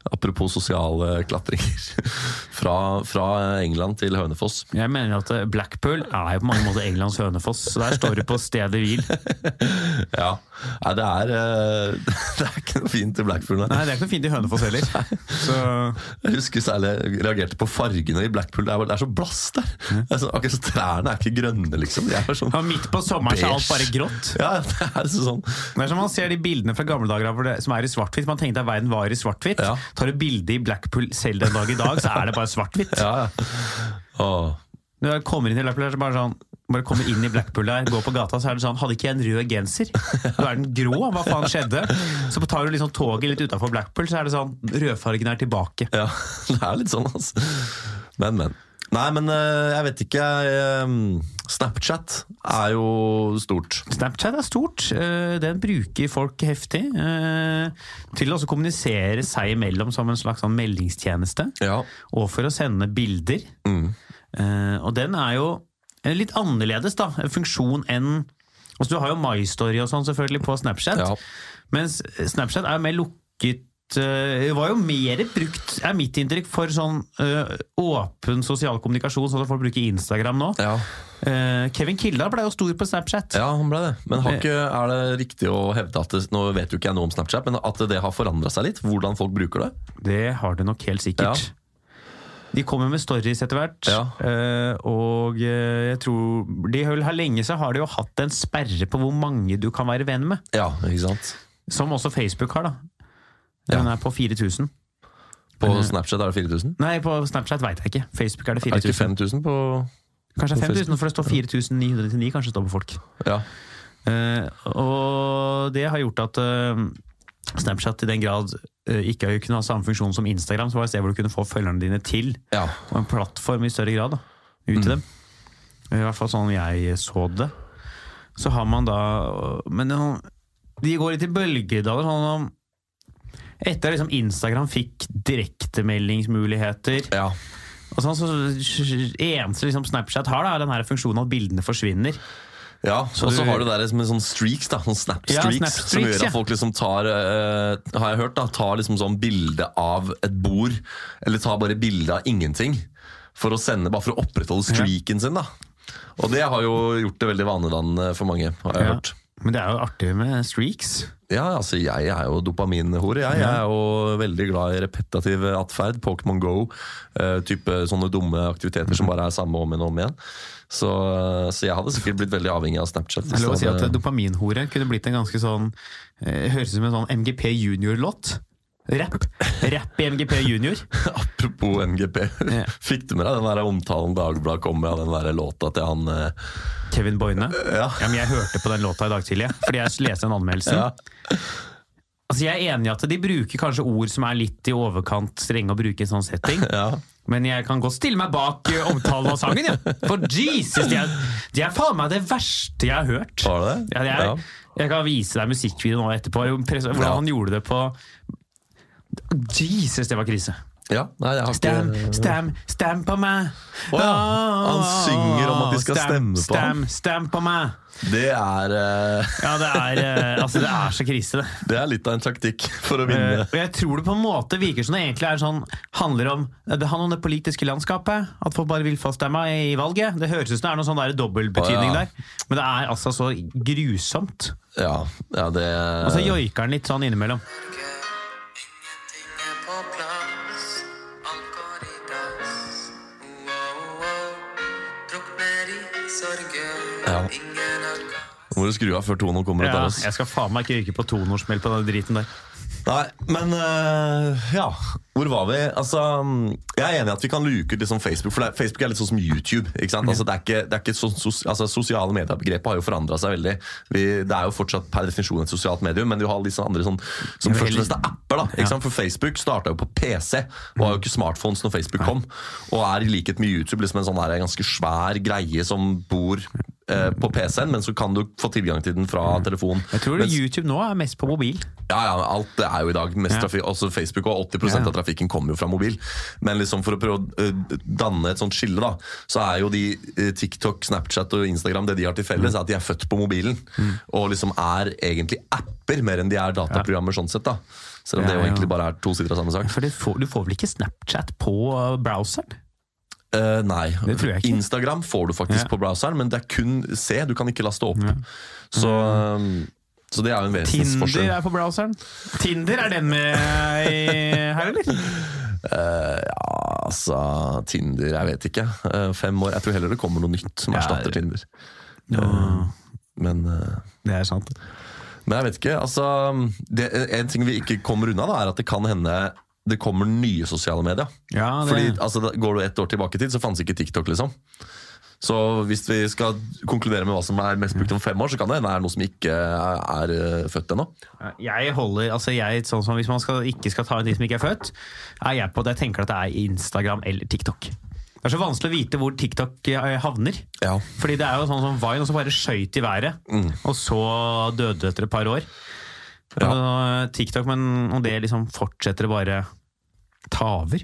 Speaker 3: Apropos sosiale klatringer. Fra, fra England til Hønefoss.
Speaker 2: Jeg mener at eh, Blackpool er jo på mange måter Englands Hønefoss. så Der står du på stedet hvil.
Speaker 3: Ja. Nei, det er, eh, det er ikke noe fint i Blackpool. Nei.
Speaker 2: Nei, det er ikke noe fint i Hønefoss heller. Så
Speaker 3: Jeg husker særlig jeg reagerte på fargene i Blackpool. Det er, bare- det er så blass der! Det er sånn, ok, så Trærne er ikke grønne, liksom. De er bare sånn,
Speaker 2: ja, Midt på sommeren så er alt bare grått.
Speaker 3: ja, det er sånn
Speaker 2: Det er som man ser de bildene fra gamle dager av hvor det, som er i svart-hvitt. Man tenkte at verden var i svart-hvitt.
Speaker 3: Ja.
Speaker 2: Tar du bilde i Blackpool selv den dag i dag, så er det bare svart-hvitt.
Speaker 3: Ja, ja. Åh.
Speaker 2: Når jeg kommer inn i Blackpool, så er det bare sånn bare kommer inn i Blackpool der, går på gata, så er det sånn Hadde ikke jeg en rød genser? Nå er den grå, hva faen skjedde? Så tar du liksom toget litt utafor Blackpool, så er det sånn Rødfargen er tilbake.
Speaker 3: Ja, det er litt sånn, altså. Men, men. Nei, men eh, jeg vet ikke. jeg, eh, Snapchat er jo stort.
Speaker 2: Snapchat er stort. eh, Den bruker folk heftig. eh, Til å også kommunisere seg imellom som en slags sånn meldingstjeneste.
Speaker 3: Ja.
Speaker 2: Og for å sende bilder.
Speaker 3: Mm.
Speaker 2: Eh, Og den er jo eh, litt annerledes, da. en Funksjon enn altså Du har jo MyStory og sånn selvfølgelig på Snapchat.
Speaker 3: Ja.
Speaker 2: Mens eh, Snapchat er jo mer lukket eh, var jo mer brukt, er mitt inntrykk, for sånn eh, åpen sosial kommunikasjon, sånn at folk bruker Instagram nå.
Speaker 3: Ja.
Speaker 2: Eh, Kevin Kildahl ble jo stor på Snapchat.
Speaker 3: ja, han ble det. Men har ikke, er det riktig å hevde at det, Nå vet jo ikke jeg noe om Snapchat, men at det har forandra seg litt? Hvordan folk bruker det?
Speaker 2: Det har det nok helt sikkert. De kommer med stories etter hvert.
Speaker 3: Ja.
Speaker 2: eh, og eh, jeg tror de har, har lenge så har de jo hatt en sperre på hvor mange du kan være venn med.
Speaker 3: Ja, ikke sant?
Speaker 2: Som også Facebook har, da. Den er på 4000.
Speaker 3: På Snapchat er det 4000?
Speaker 2: Nei, på Snapchat veit jeg ikke. Facebook eh, er det
Speaker 3: Er det ikke
Speaker 2: 4000.
Speaker 3: 5000 på
Speaker 2: Kanskje det
Speaker 3: på
Speaker 2: er 5000, for det står 4999 kanskje det står på folk.
Speaker 3: Ja.
Speaker 2: Eh, og det har gjort at eh, Snapchat i den grad eh, ikke har kunne ha samme funksjon som Instagram, så var det et sted hvor du kunne få følgerne dine til.
Speaker 3: ja.
Speaker 2: og en plattform i større grad da, ut til dem. I hvert fall sånn jeg så det. Så har man da Men det er sånn- de går litt i bølgedaler. Sånn om etter at liksom Instagram fikk direktemeldingsmuligheter
Speaker 3: ja.
Speaker 2: og sånn, så eneste liksom Snapchat har, da, er den her funksjonen at bildene forsvinner.
Speaker 3: Ja, og så
Speaker 2: du-
Speaker 3: har du det der som en sånn streaks, da, sånn snap
Speaker 2: Ja,
Speaker 3: streaks,
Speaker 2: snap
Speaker 3: som
Speaker 2: streaks,
Speaker 3: gjør
Speaker 2: ja.
Speaker 3: at folk liksom tar, eh, har jeg hørt, da, tar liksom sånn bilde av et bord, eller tar bare bilde av ingenting, for å sende, bare for å opprettholde streaken sin, da. Og det har jo gjort det veldig vanedannende for mange, har jeg
Speaker 2: Ja.
Speaker 3: hørt.
Speaker 2: Men det er jo artig med streaks.
Speaker 3: Ja, altså jeg er jo dopaminhore. Jeg, jeg er jo veldig glad i repetativ atferd. Pokémon Go. eh, type sånne dumme aktiviteter som bare er samme om igjen og om igjen. Så, eh, så jeg hadde sikkert blitt veldig avhengig av Snapchat.
Speaker 2: Det er lov å
Speaker 3: hvis
Speaker 2: si
Speaker 3: jeg
Speaker 2: at
Speaker 3: hadde-
Speaker 2: dopaminhore kunne blitt en ganske sånn eh, Høres ut som en sånn MGP Junior-låt. Rapp. Rapp i MGP Junior.
Speaker 3: Apropos NGP.
Speaker 2: Ja.
Speaker 3: Fikk du med deg den der omtalen Dagbladet kom med av den der låta til han eh,
Speaker 2: Kevin Boine.
Speaker 3: Ja.
Speaker 2: Ja, men jeg hørte på den låta i dag tidlig, fordi jeg leste den anmeldelsen.
Speaker 3: Ja.
Speaker 2: Altså, jeg er enig i at de bruker kanskje ord som er litt i overkant strenge å bruke i en sånn setting,
Speaker 3: Ja.
Speaker 2: men jeg kan godt stille meg bak eh, omtalen av sangen, ja. For Jesus, de er, de er faen meg det verste jeg har hørt.
Speaker 3: Var det det?
Speaker 2: Ja, det er, Jeg kan vise deg musikkvideoen nå etterpå, jo, pres- hvordan
Speaker 3: Ja.
Speaker 2: han gjorde det på Jesus, det var krise.
Speaker 3: Ja, nei, jeg har
Speaker 2: Stem,
Speaker 3: ikke
Speaker 2: stem, stem på meg!
Speaker 3: Å ja, han synger om at de skal stemme på
Speaker 2: stem, ham. Stem på meg!
Speaker 3: Det er, eh,
Speaker 2: Ja, det er, eh, altså, det er så krise, det.
Speaker 3: det er litt av en taktikk for å
Speaker 2: Eh,
Speaker 3: vinne.
Speaker 2: og jeg tror det på en måte virker som det egentlig er sånn, handler om eh, det handler om det politiske landskapet. At folk bare vil få stemma i valget. Det høres ut som det er noen sånn der dobbeltbetydning
Speaker 3: Å, ja.
Speaker 2: der. Men det er altså så grusomt.
Speaker 3: Ja, ja det
Speaker 2: Og så joiker den litt sånn innimellom.
Speaker 1: Ingenting er på plass, alt går i dass. Wow, drukner i sorger.
Speaker 3: Ja.
Speaker 1: Ingen har gass.
Speaker 3: Nå må du skru av før tonen kommer ut
Speaker 2: Ja,
Speaker 3: av oss.
Speaker 2: jeg skal faen meg ikke ryke på tonorsmell på den driten der.
Speaker 3: Nei, men øh, ja. Hvor var vi? Altså, jeg er enig i at vi kan luke ut liksom Facebook. For det, er- Facebook er litt sånn som YouTube. ikke sant? Altså, det er ikke, det er ikke så, sos, altså, Sosiale medier-begrepet har jo forandra seg veldig. Vi, det er jo fortsatt per definisjon et sosialt medium, men du har liksom andre sånn, som
Speaker 2: Ja,
Speaker 3: først og
Speaker 2: heller-
Speaker 3: fremst er apper. da, ikke sant? For Facebook starta jo på PC. Var jo ikke smartphones når Facebook kom. Og er i likhet med YouTube liksom en sånn der, ganske svær greie som bor eh, på PC-en, men så kan du få tilgang til den fra telefon.
Speaker 2: Jeg tror
Speaker 3: Mens-
Speaker 2: YouTube nå er mest på mobil.
Speaker 3: ja, ja, men alt er jo i dag mest
Speaker 2: Ja.
Speaker 3: trafikk, også Facebook og 80
Speaker 2: Ja.
Speaker 3: av trafikken kommer jo fra mobil. Men liksom for å prøve å eh, danne et sånt skille, da, så er jo de eh, TikTok, Snapchat og Instagram det de har til felles, er at de er født på mobilen. Og liksom er egentlig apper mer enn de er dataprogrammer sånn sett. da. Selv om det
Speaker 2: Ja,
Speaker 3: jo
Speaker 2: ja.
Speaker 3: egentlig bare er to sider av samme sak.
Speaker 2: For du får, du får vel ikke Snapchat på eh, browseren?
Speaker 3: Eh, nei.
Speaker 2: Det tror jeg ikke.
Speaker 3: Instagram får du faktisk
Speaker 2: Ja.
Speaker 3: på browseren, men det er kun se, du kan ikke laste opp. Så, eh, så det er jo en
Speaker 2: Mm. Tinder
Speaker 3: vesensforskjell.
Speaker 2: er på browseren. Tinder er den med eh, i- her, eller?
Speaker 3: Eh, ja, altså Tinder, jeg vet ikke. Eh, fem år. Jeg tror heller det kommer noe nytt som
Speaker 2: Ja,
Speaker 3: erstatter
Speaker 2: det-
Speaker 3: Tinder. Eh, men, eh,
Speaker 2: Det er sant.
Speaker 3: men jeg vet ikke. Altså, det, en ting vi ikke kommer unna, da, er at det kan hende det kommer nye sosiale medier.
Speaker 2: Ja, det-
Speaker 3: Fordi, altså, da- Går du ett år tilbake i tid, så fantes ikke TikTok. liksom så hvis vi skal konkludere med hva som er mest brukt om fem år, så kan det hende det er noe som ikke er, er eh, født ennå.
Speaker 2: Jeg holder, altså jeg, sånn som Hvis man skal, ikke skal ta en ting som ikke er født, er jeg på at jeg tenker at det er Instagram eller TikTok. Det er så vanskelig å vite hvor TikTok eh, havner.
Speaker 3: Ja.
Speaker 2: Fordi det er jo sånn som Vine, og så bare skøyt i været.
Speaker 3: Mm.
Speaker 2: Og så døde det etter et par år. Og TikTok, men om det liksom fortsetter å bare ta over?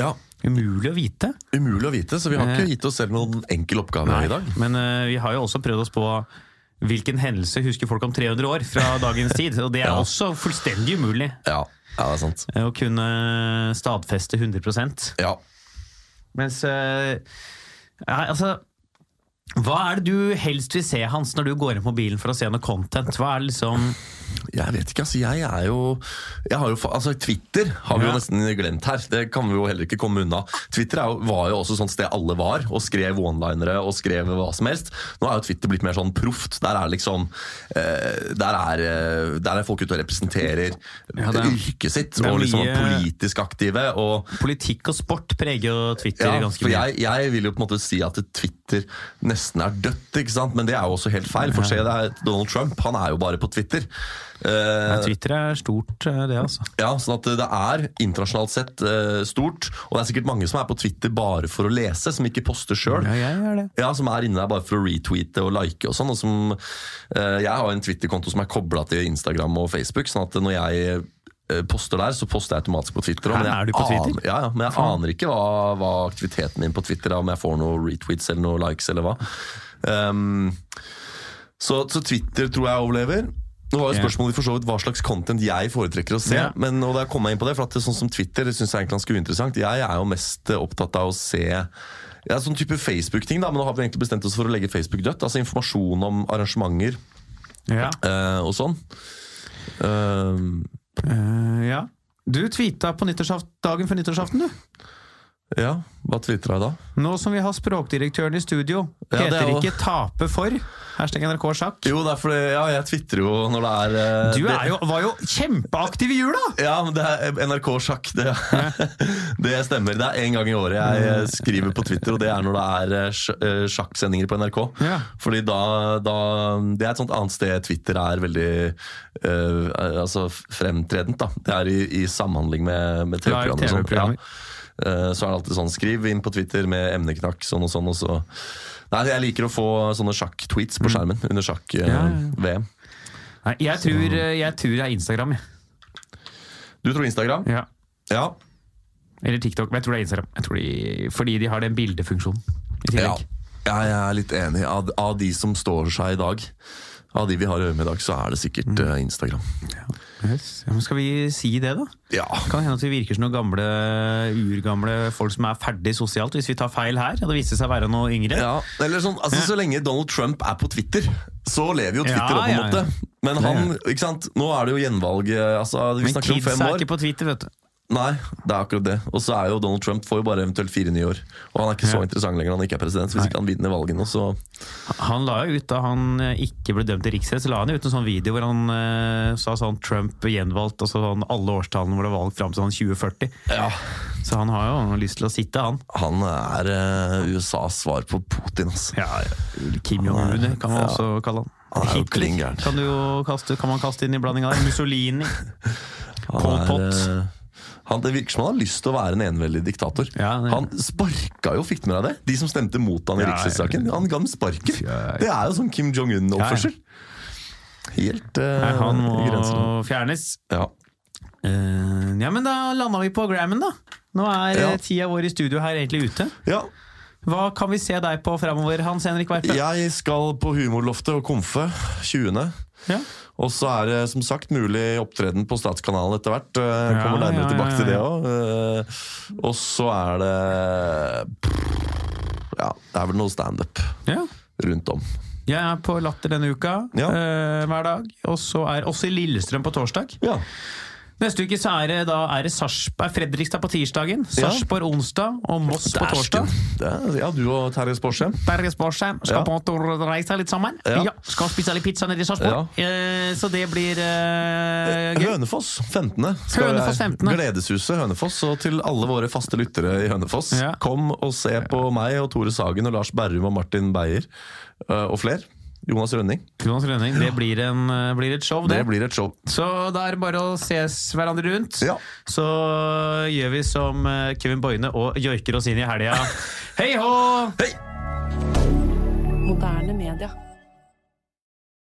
Speaker 3: ja.
Speaker 2: Umulig å vite.
Speaker 3: Umulig å vite, så vi har
Speaker 2: Eh.
Speaker 3: ikke gitt oss selv noen enkel oppgave i dag.
Speaker 2: Men eh, vi har jo også prøvd oss på hvilken hendelse husker folk om 300 år fra dagens tid. Og det er
Speaker 3: Ja.
Speaker 2: også fullstendig umulig
Speaker 3: Ja, ja det er sant.
Speaker 2: eh, å kunne stadfeste 100
Speaker 3: Ja.
Speaker 2: Mens eh, ja, Altså hva er det du helst vil se, Hans, når du går inn på mobilen for å se noe content? Hva er det liksom
Speaker 3: Jeg vet ikke, altså jeg er jo, jeg har jo fa- altså Twitter har vi jo
Speaker 2: Ja.
Speaker 3: nesten glemt her. Det kan vi jo heller ikke komme unna. Twitter er jo, var jo også sånt sted alle var, og skrev one-linere og skrev hva som helst. Nå er jo Twitter blitt mer sånn proft. Der er liksom eh, Der er, eh, der er folk ute og representerer
Speaker 2: det er-
Speaker 3: yrket sitt,
Speaker 2: det er
Speaker 3: og liksom
Speaker 2: mye-
Speaker 3: er politisk aktive. og
Speaker 2: Politikk og sport preger jo Twitter
Speaker 3: ja,
Speaker 2: ganske
Speaker 3: for
Speaker 2: mye.
Speaker 3: jeg, jeg vil jo på en måte si at Twitter nesten er dødt, ikke sant? men det er jo også helt feil. For se, det er Donald Trump han er jo bare på Twitter. Eh,
Speaker 2: Twitter er stort, eh, det, altså.
Speaker 3: ja, sånn at det er internasjonalt sett eh, stort, og det er sikkert mange som er på Twitter bare for å lese, som ikke poster sjøl.
Speaker 2: Ja, jeg er det.
Speaker 3: Ja, som er inne der bare for å retweete og like og sånn. Og som, eh, jeg har en Twitter-konto som er kobla til Instagram og Facebook, sånn at når jeg eh, poster der, så poster jeg automatisk på Twitter. og-
Speaker 2: Hæ,
Speaker 3: men jeg
Speaker 2: er du på Twitter?
Speaker 3: Aner, ja, ja, men jeg aner ikke hva, hva aktiviteten min på Twitter er, om jeg får noen retweets eller noen likes eller hva. Um, så, så Twitter tror jeg overlever. Nå var jo
Speaker 2: Ja.
Speaker 3: spørsmålet for så vidt hva slags content jeg foretrekker å se.
Speaker 2: Ja.
Speaker 3: Men og der kom jeg inn på det, for at det, er sånn som Twitter det synes jeg egentlig er ganske uinteressant. Jeg er jo mest eh, opptatt av å se ja, sånn type Facebook-ting, da, men nå har vi egentlig bestemt oss for å legge Facebook dødt. Altså informasjon om arrangementer
Speaker 2: Ja.
Speaker 3: eh, og sånn. Ehm,
Speaker 2: Eh, ja. Du tweeta på nyttårsaft, dagen før nyttårsaften, du.
Speaker 3: ja, hva twittra jeg da?
Speaker 2: Nå som vi har språkdirektøren i studio,
Speaker 3: Ja, det er
Speaker 2: heter det
Speaker 3: jo-
Speaker 2: ikke 'tape for'. Hashtag NRK sjakk.
Speaker 3: Jo, det er fordi ja, jeg twitrer jo når det er eh,
Speaker 2: Du
Speaker 3: det-
Speaker 2: er jo, var jo kjempeaktiv i jula!
Speaker 3: Ja, men det er NRK Sjakk. Det, det stemmer. Det er én gang i året jeg skriver på Twitter, og det er når det er eh, sj- eh, sjakksendinger på NRK.
Speaker 2: Ja.
Speaker 3: Fordi da, da Det er et sånt annet sted Twitter er veldig eh, altså fremtredent. da Det er i, i samhandling med, med TV-programmer. og sånt.
Speaker 2: TV-programmer.
Speaker 3: Eh, Så er det alltid sånn Skriv inn på Twitter med emneknakk sånn og sånn. Og så. Nei, jeg liker å få sånne sjakk-tweets på skjermen
Speaker 2: Mm.
Speaker 3: under eh,
Speaker 2: Ja, ja.
Speaker 3: sjakk-VM.
Speaker 2: Nei, jeg tror, eh, jeg tror det er Instagram. jeg.
Speaker 3: Du tror Instagram?
Speaker 2: Ja.
Speaker 3: Ja.
Speaker 2: Eller TikTok, men jeg tror det er Instagram. Jeg tror de, fordi de har den bildefunksjonen i
Speaker 3: Ja.
Speaker 2: tillegg.
Speaker 3: ja, jeg er litt enig. Av, av de som står seg i dag, av de vi har å gjøre med i dag, så er det sikkert
Speaker 2: Mm.
Speaker 3: eh, Instagram.
Speaker 2: Yes. Ja, men skal vi si det, da?
Speaker 3: Ja.
Speaker 2: Kan hende at vi virker som noen gamle, urgamle folk som er ferdig sosialt, hvis vi tar feil her. Og det viser seg å være noe yngre.
Speaker 3: ja. Eller sånn, altså, så lenge Donald Trump er på Twitter, så lever jo Twitter
Speaker 2: Ja,
Speaker 3: opp på en
Speaker 2: ja, ja.
Speaker 3: måte. Men han, ikke sant, nå er det jo gjenvalg eh, altså, Vi
Speaker 2: Men
Speaker 3: snakker om
Speaker 2: kids
Speaker 3: fem
Speaker 2: er
Speaker 3: år.
Speaker 2: ikke på Twitter, vet du.
Speaker 3: Nei, det er akkurat det. Og så er jo Donald Trump får jo bare eventuelt fire nye år. Og han er ikke så
Speaker 2: Ja.
Speaker 3: interessant lenger når han ikke er president. Hvis
Speaker 2: Nei.
Speaker 3: ikke han vinner valget nå, så
Speaker 2: Han la jo ut da han eh, ikke ble dømt til riksrett, så la han jo ut en sånn video hvor han eh, sa sånn Trump gjenvalgt, altså sånn alle årstallene hvor det var valgt fram til sånn 2040.
Speaker 3: Ja.
Speaker 2: Så han har jo lyst til å sitte, han.
Speaker 3: Han er eh, USAs svar på Putin, altså.
Speaker 2: Ja, Kim Jong-un det kan man
Speaker 3: Ja.
Speaker 2: også kalle han.
Speaker 3: Han er jo
Speaker 2: Hitler
Speaker 3: klin gæren.
Speaker 2: kan, du jo kaste, kan man kaste inn i blandinga der. Mussolini. Pol
Speaker 3: Han
Speaker 2: Pot.
Speaker 3: er, eh, han, det virker som han har lyst til å være en eneveldig diktator.
Speaker 2: Ja, det-
Speaker 3: han sparka jo, fikk du med deg det? De som stemte mot han i
Speaker 2: Ja,
Speaker 3: riksrettssaken. Han ga dem sparken!
Speaker 2: Ja, ja.
Speaker 3: Det er jo sånn Kim Jong-un-oppførsel. Helt uh,
Speaker 2: Nei, Eh, han
Speaker 3: i grensen.
Speaker 2: må fjernes.
Speaker 3: Ja.
Speaker 2: Eh, ja, men da landa vi på Grammen, da. Nå er
Speaker 3: Ja.
Speaker 2: eh, tida vår i studio her egentlig ute.
Speaker 3: ja.
Speaker 2: Hva kan vi se deg på framover, Hans Henrik Werpe?
Speaker 3: Jeg skal på Humorloftet og Komfe 20.
Speaker 2: Ja.
Speaker 3: Og så er det som sagt mulig opptreden på Statskanalen etter hvert. Eh,
Speaker 2: Ja,
Speaker 3: Kommer nærmere
Speaker 2: ja,
Speaker 3: tilbake til det
Speaker 2: ja,
Speaker 3: òg. Og så er det Ja, det er vel noe standup
Speaker 2: ja.
Speaker 3: rundt om.
Speaker 2: Jeg er på Latter denne uka
Speaker 3: Ja.
Speaker 2: eh, hver dag. Og så er også i Lillestrøm på torsdag.
Speaker 3: Ja.
Speaker 2: Neste uke så er det, da, er det Sarpsborg Fredrikstad på tirsdagen,
Speaker 3: Ja.
Speaker 2: Sarpsborg onsdag og Moss på
Speaker 3: Dæsken.
Speaker 2: torsdag.
Speaker 3: Det er- Ja, du og Terje Sporsem.
Speaker 2: Berge Sparsheim skal
Speaker 3: Ja.
Speaker 2: på motorreise litt sammen.
Speaker 3: Ja.
Speaker 2: Ja. Skal spise litt pizza nede i Sarpsborg. Eh, så det blir eh, gøy.
Speaker 3: Hønefoss 15. skal
Speaker 2: Hønefoss
Speaker 3: jeg-
Speaker 2: 15..
Speaker 3: Gledeshuset Hønefoss. Og til alle våre faste lyttere i Hønefoss,
Speaker 2: Ja.
Speaker 3: kom og se på meg og Tore Sagen og Lars Berrum og Martin Beyer eh, og fler. Jonas Rønning.
Speaker 2: Jonas Rønning, det blir, en, eh, blir et show, det.
Speaker 3: Det blir et show.
Speaker 2: Så da er det bare å ses hverandre rundt.
Speaker 3: Ja.
Speaker 2: Så gjør vi som eh, Kevin Boine og joiker oss inn i helga. Hei hå!
Speaker 4: Moderne media.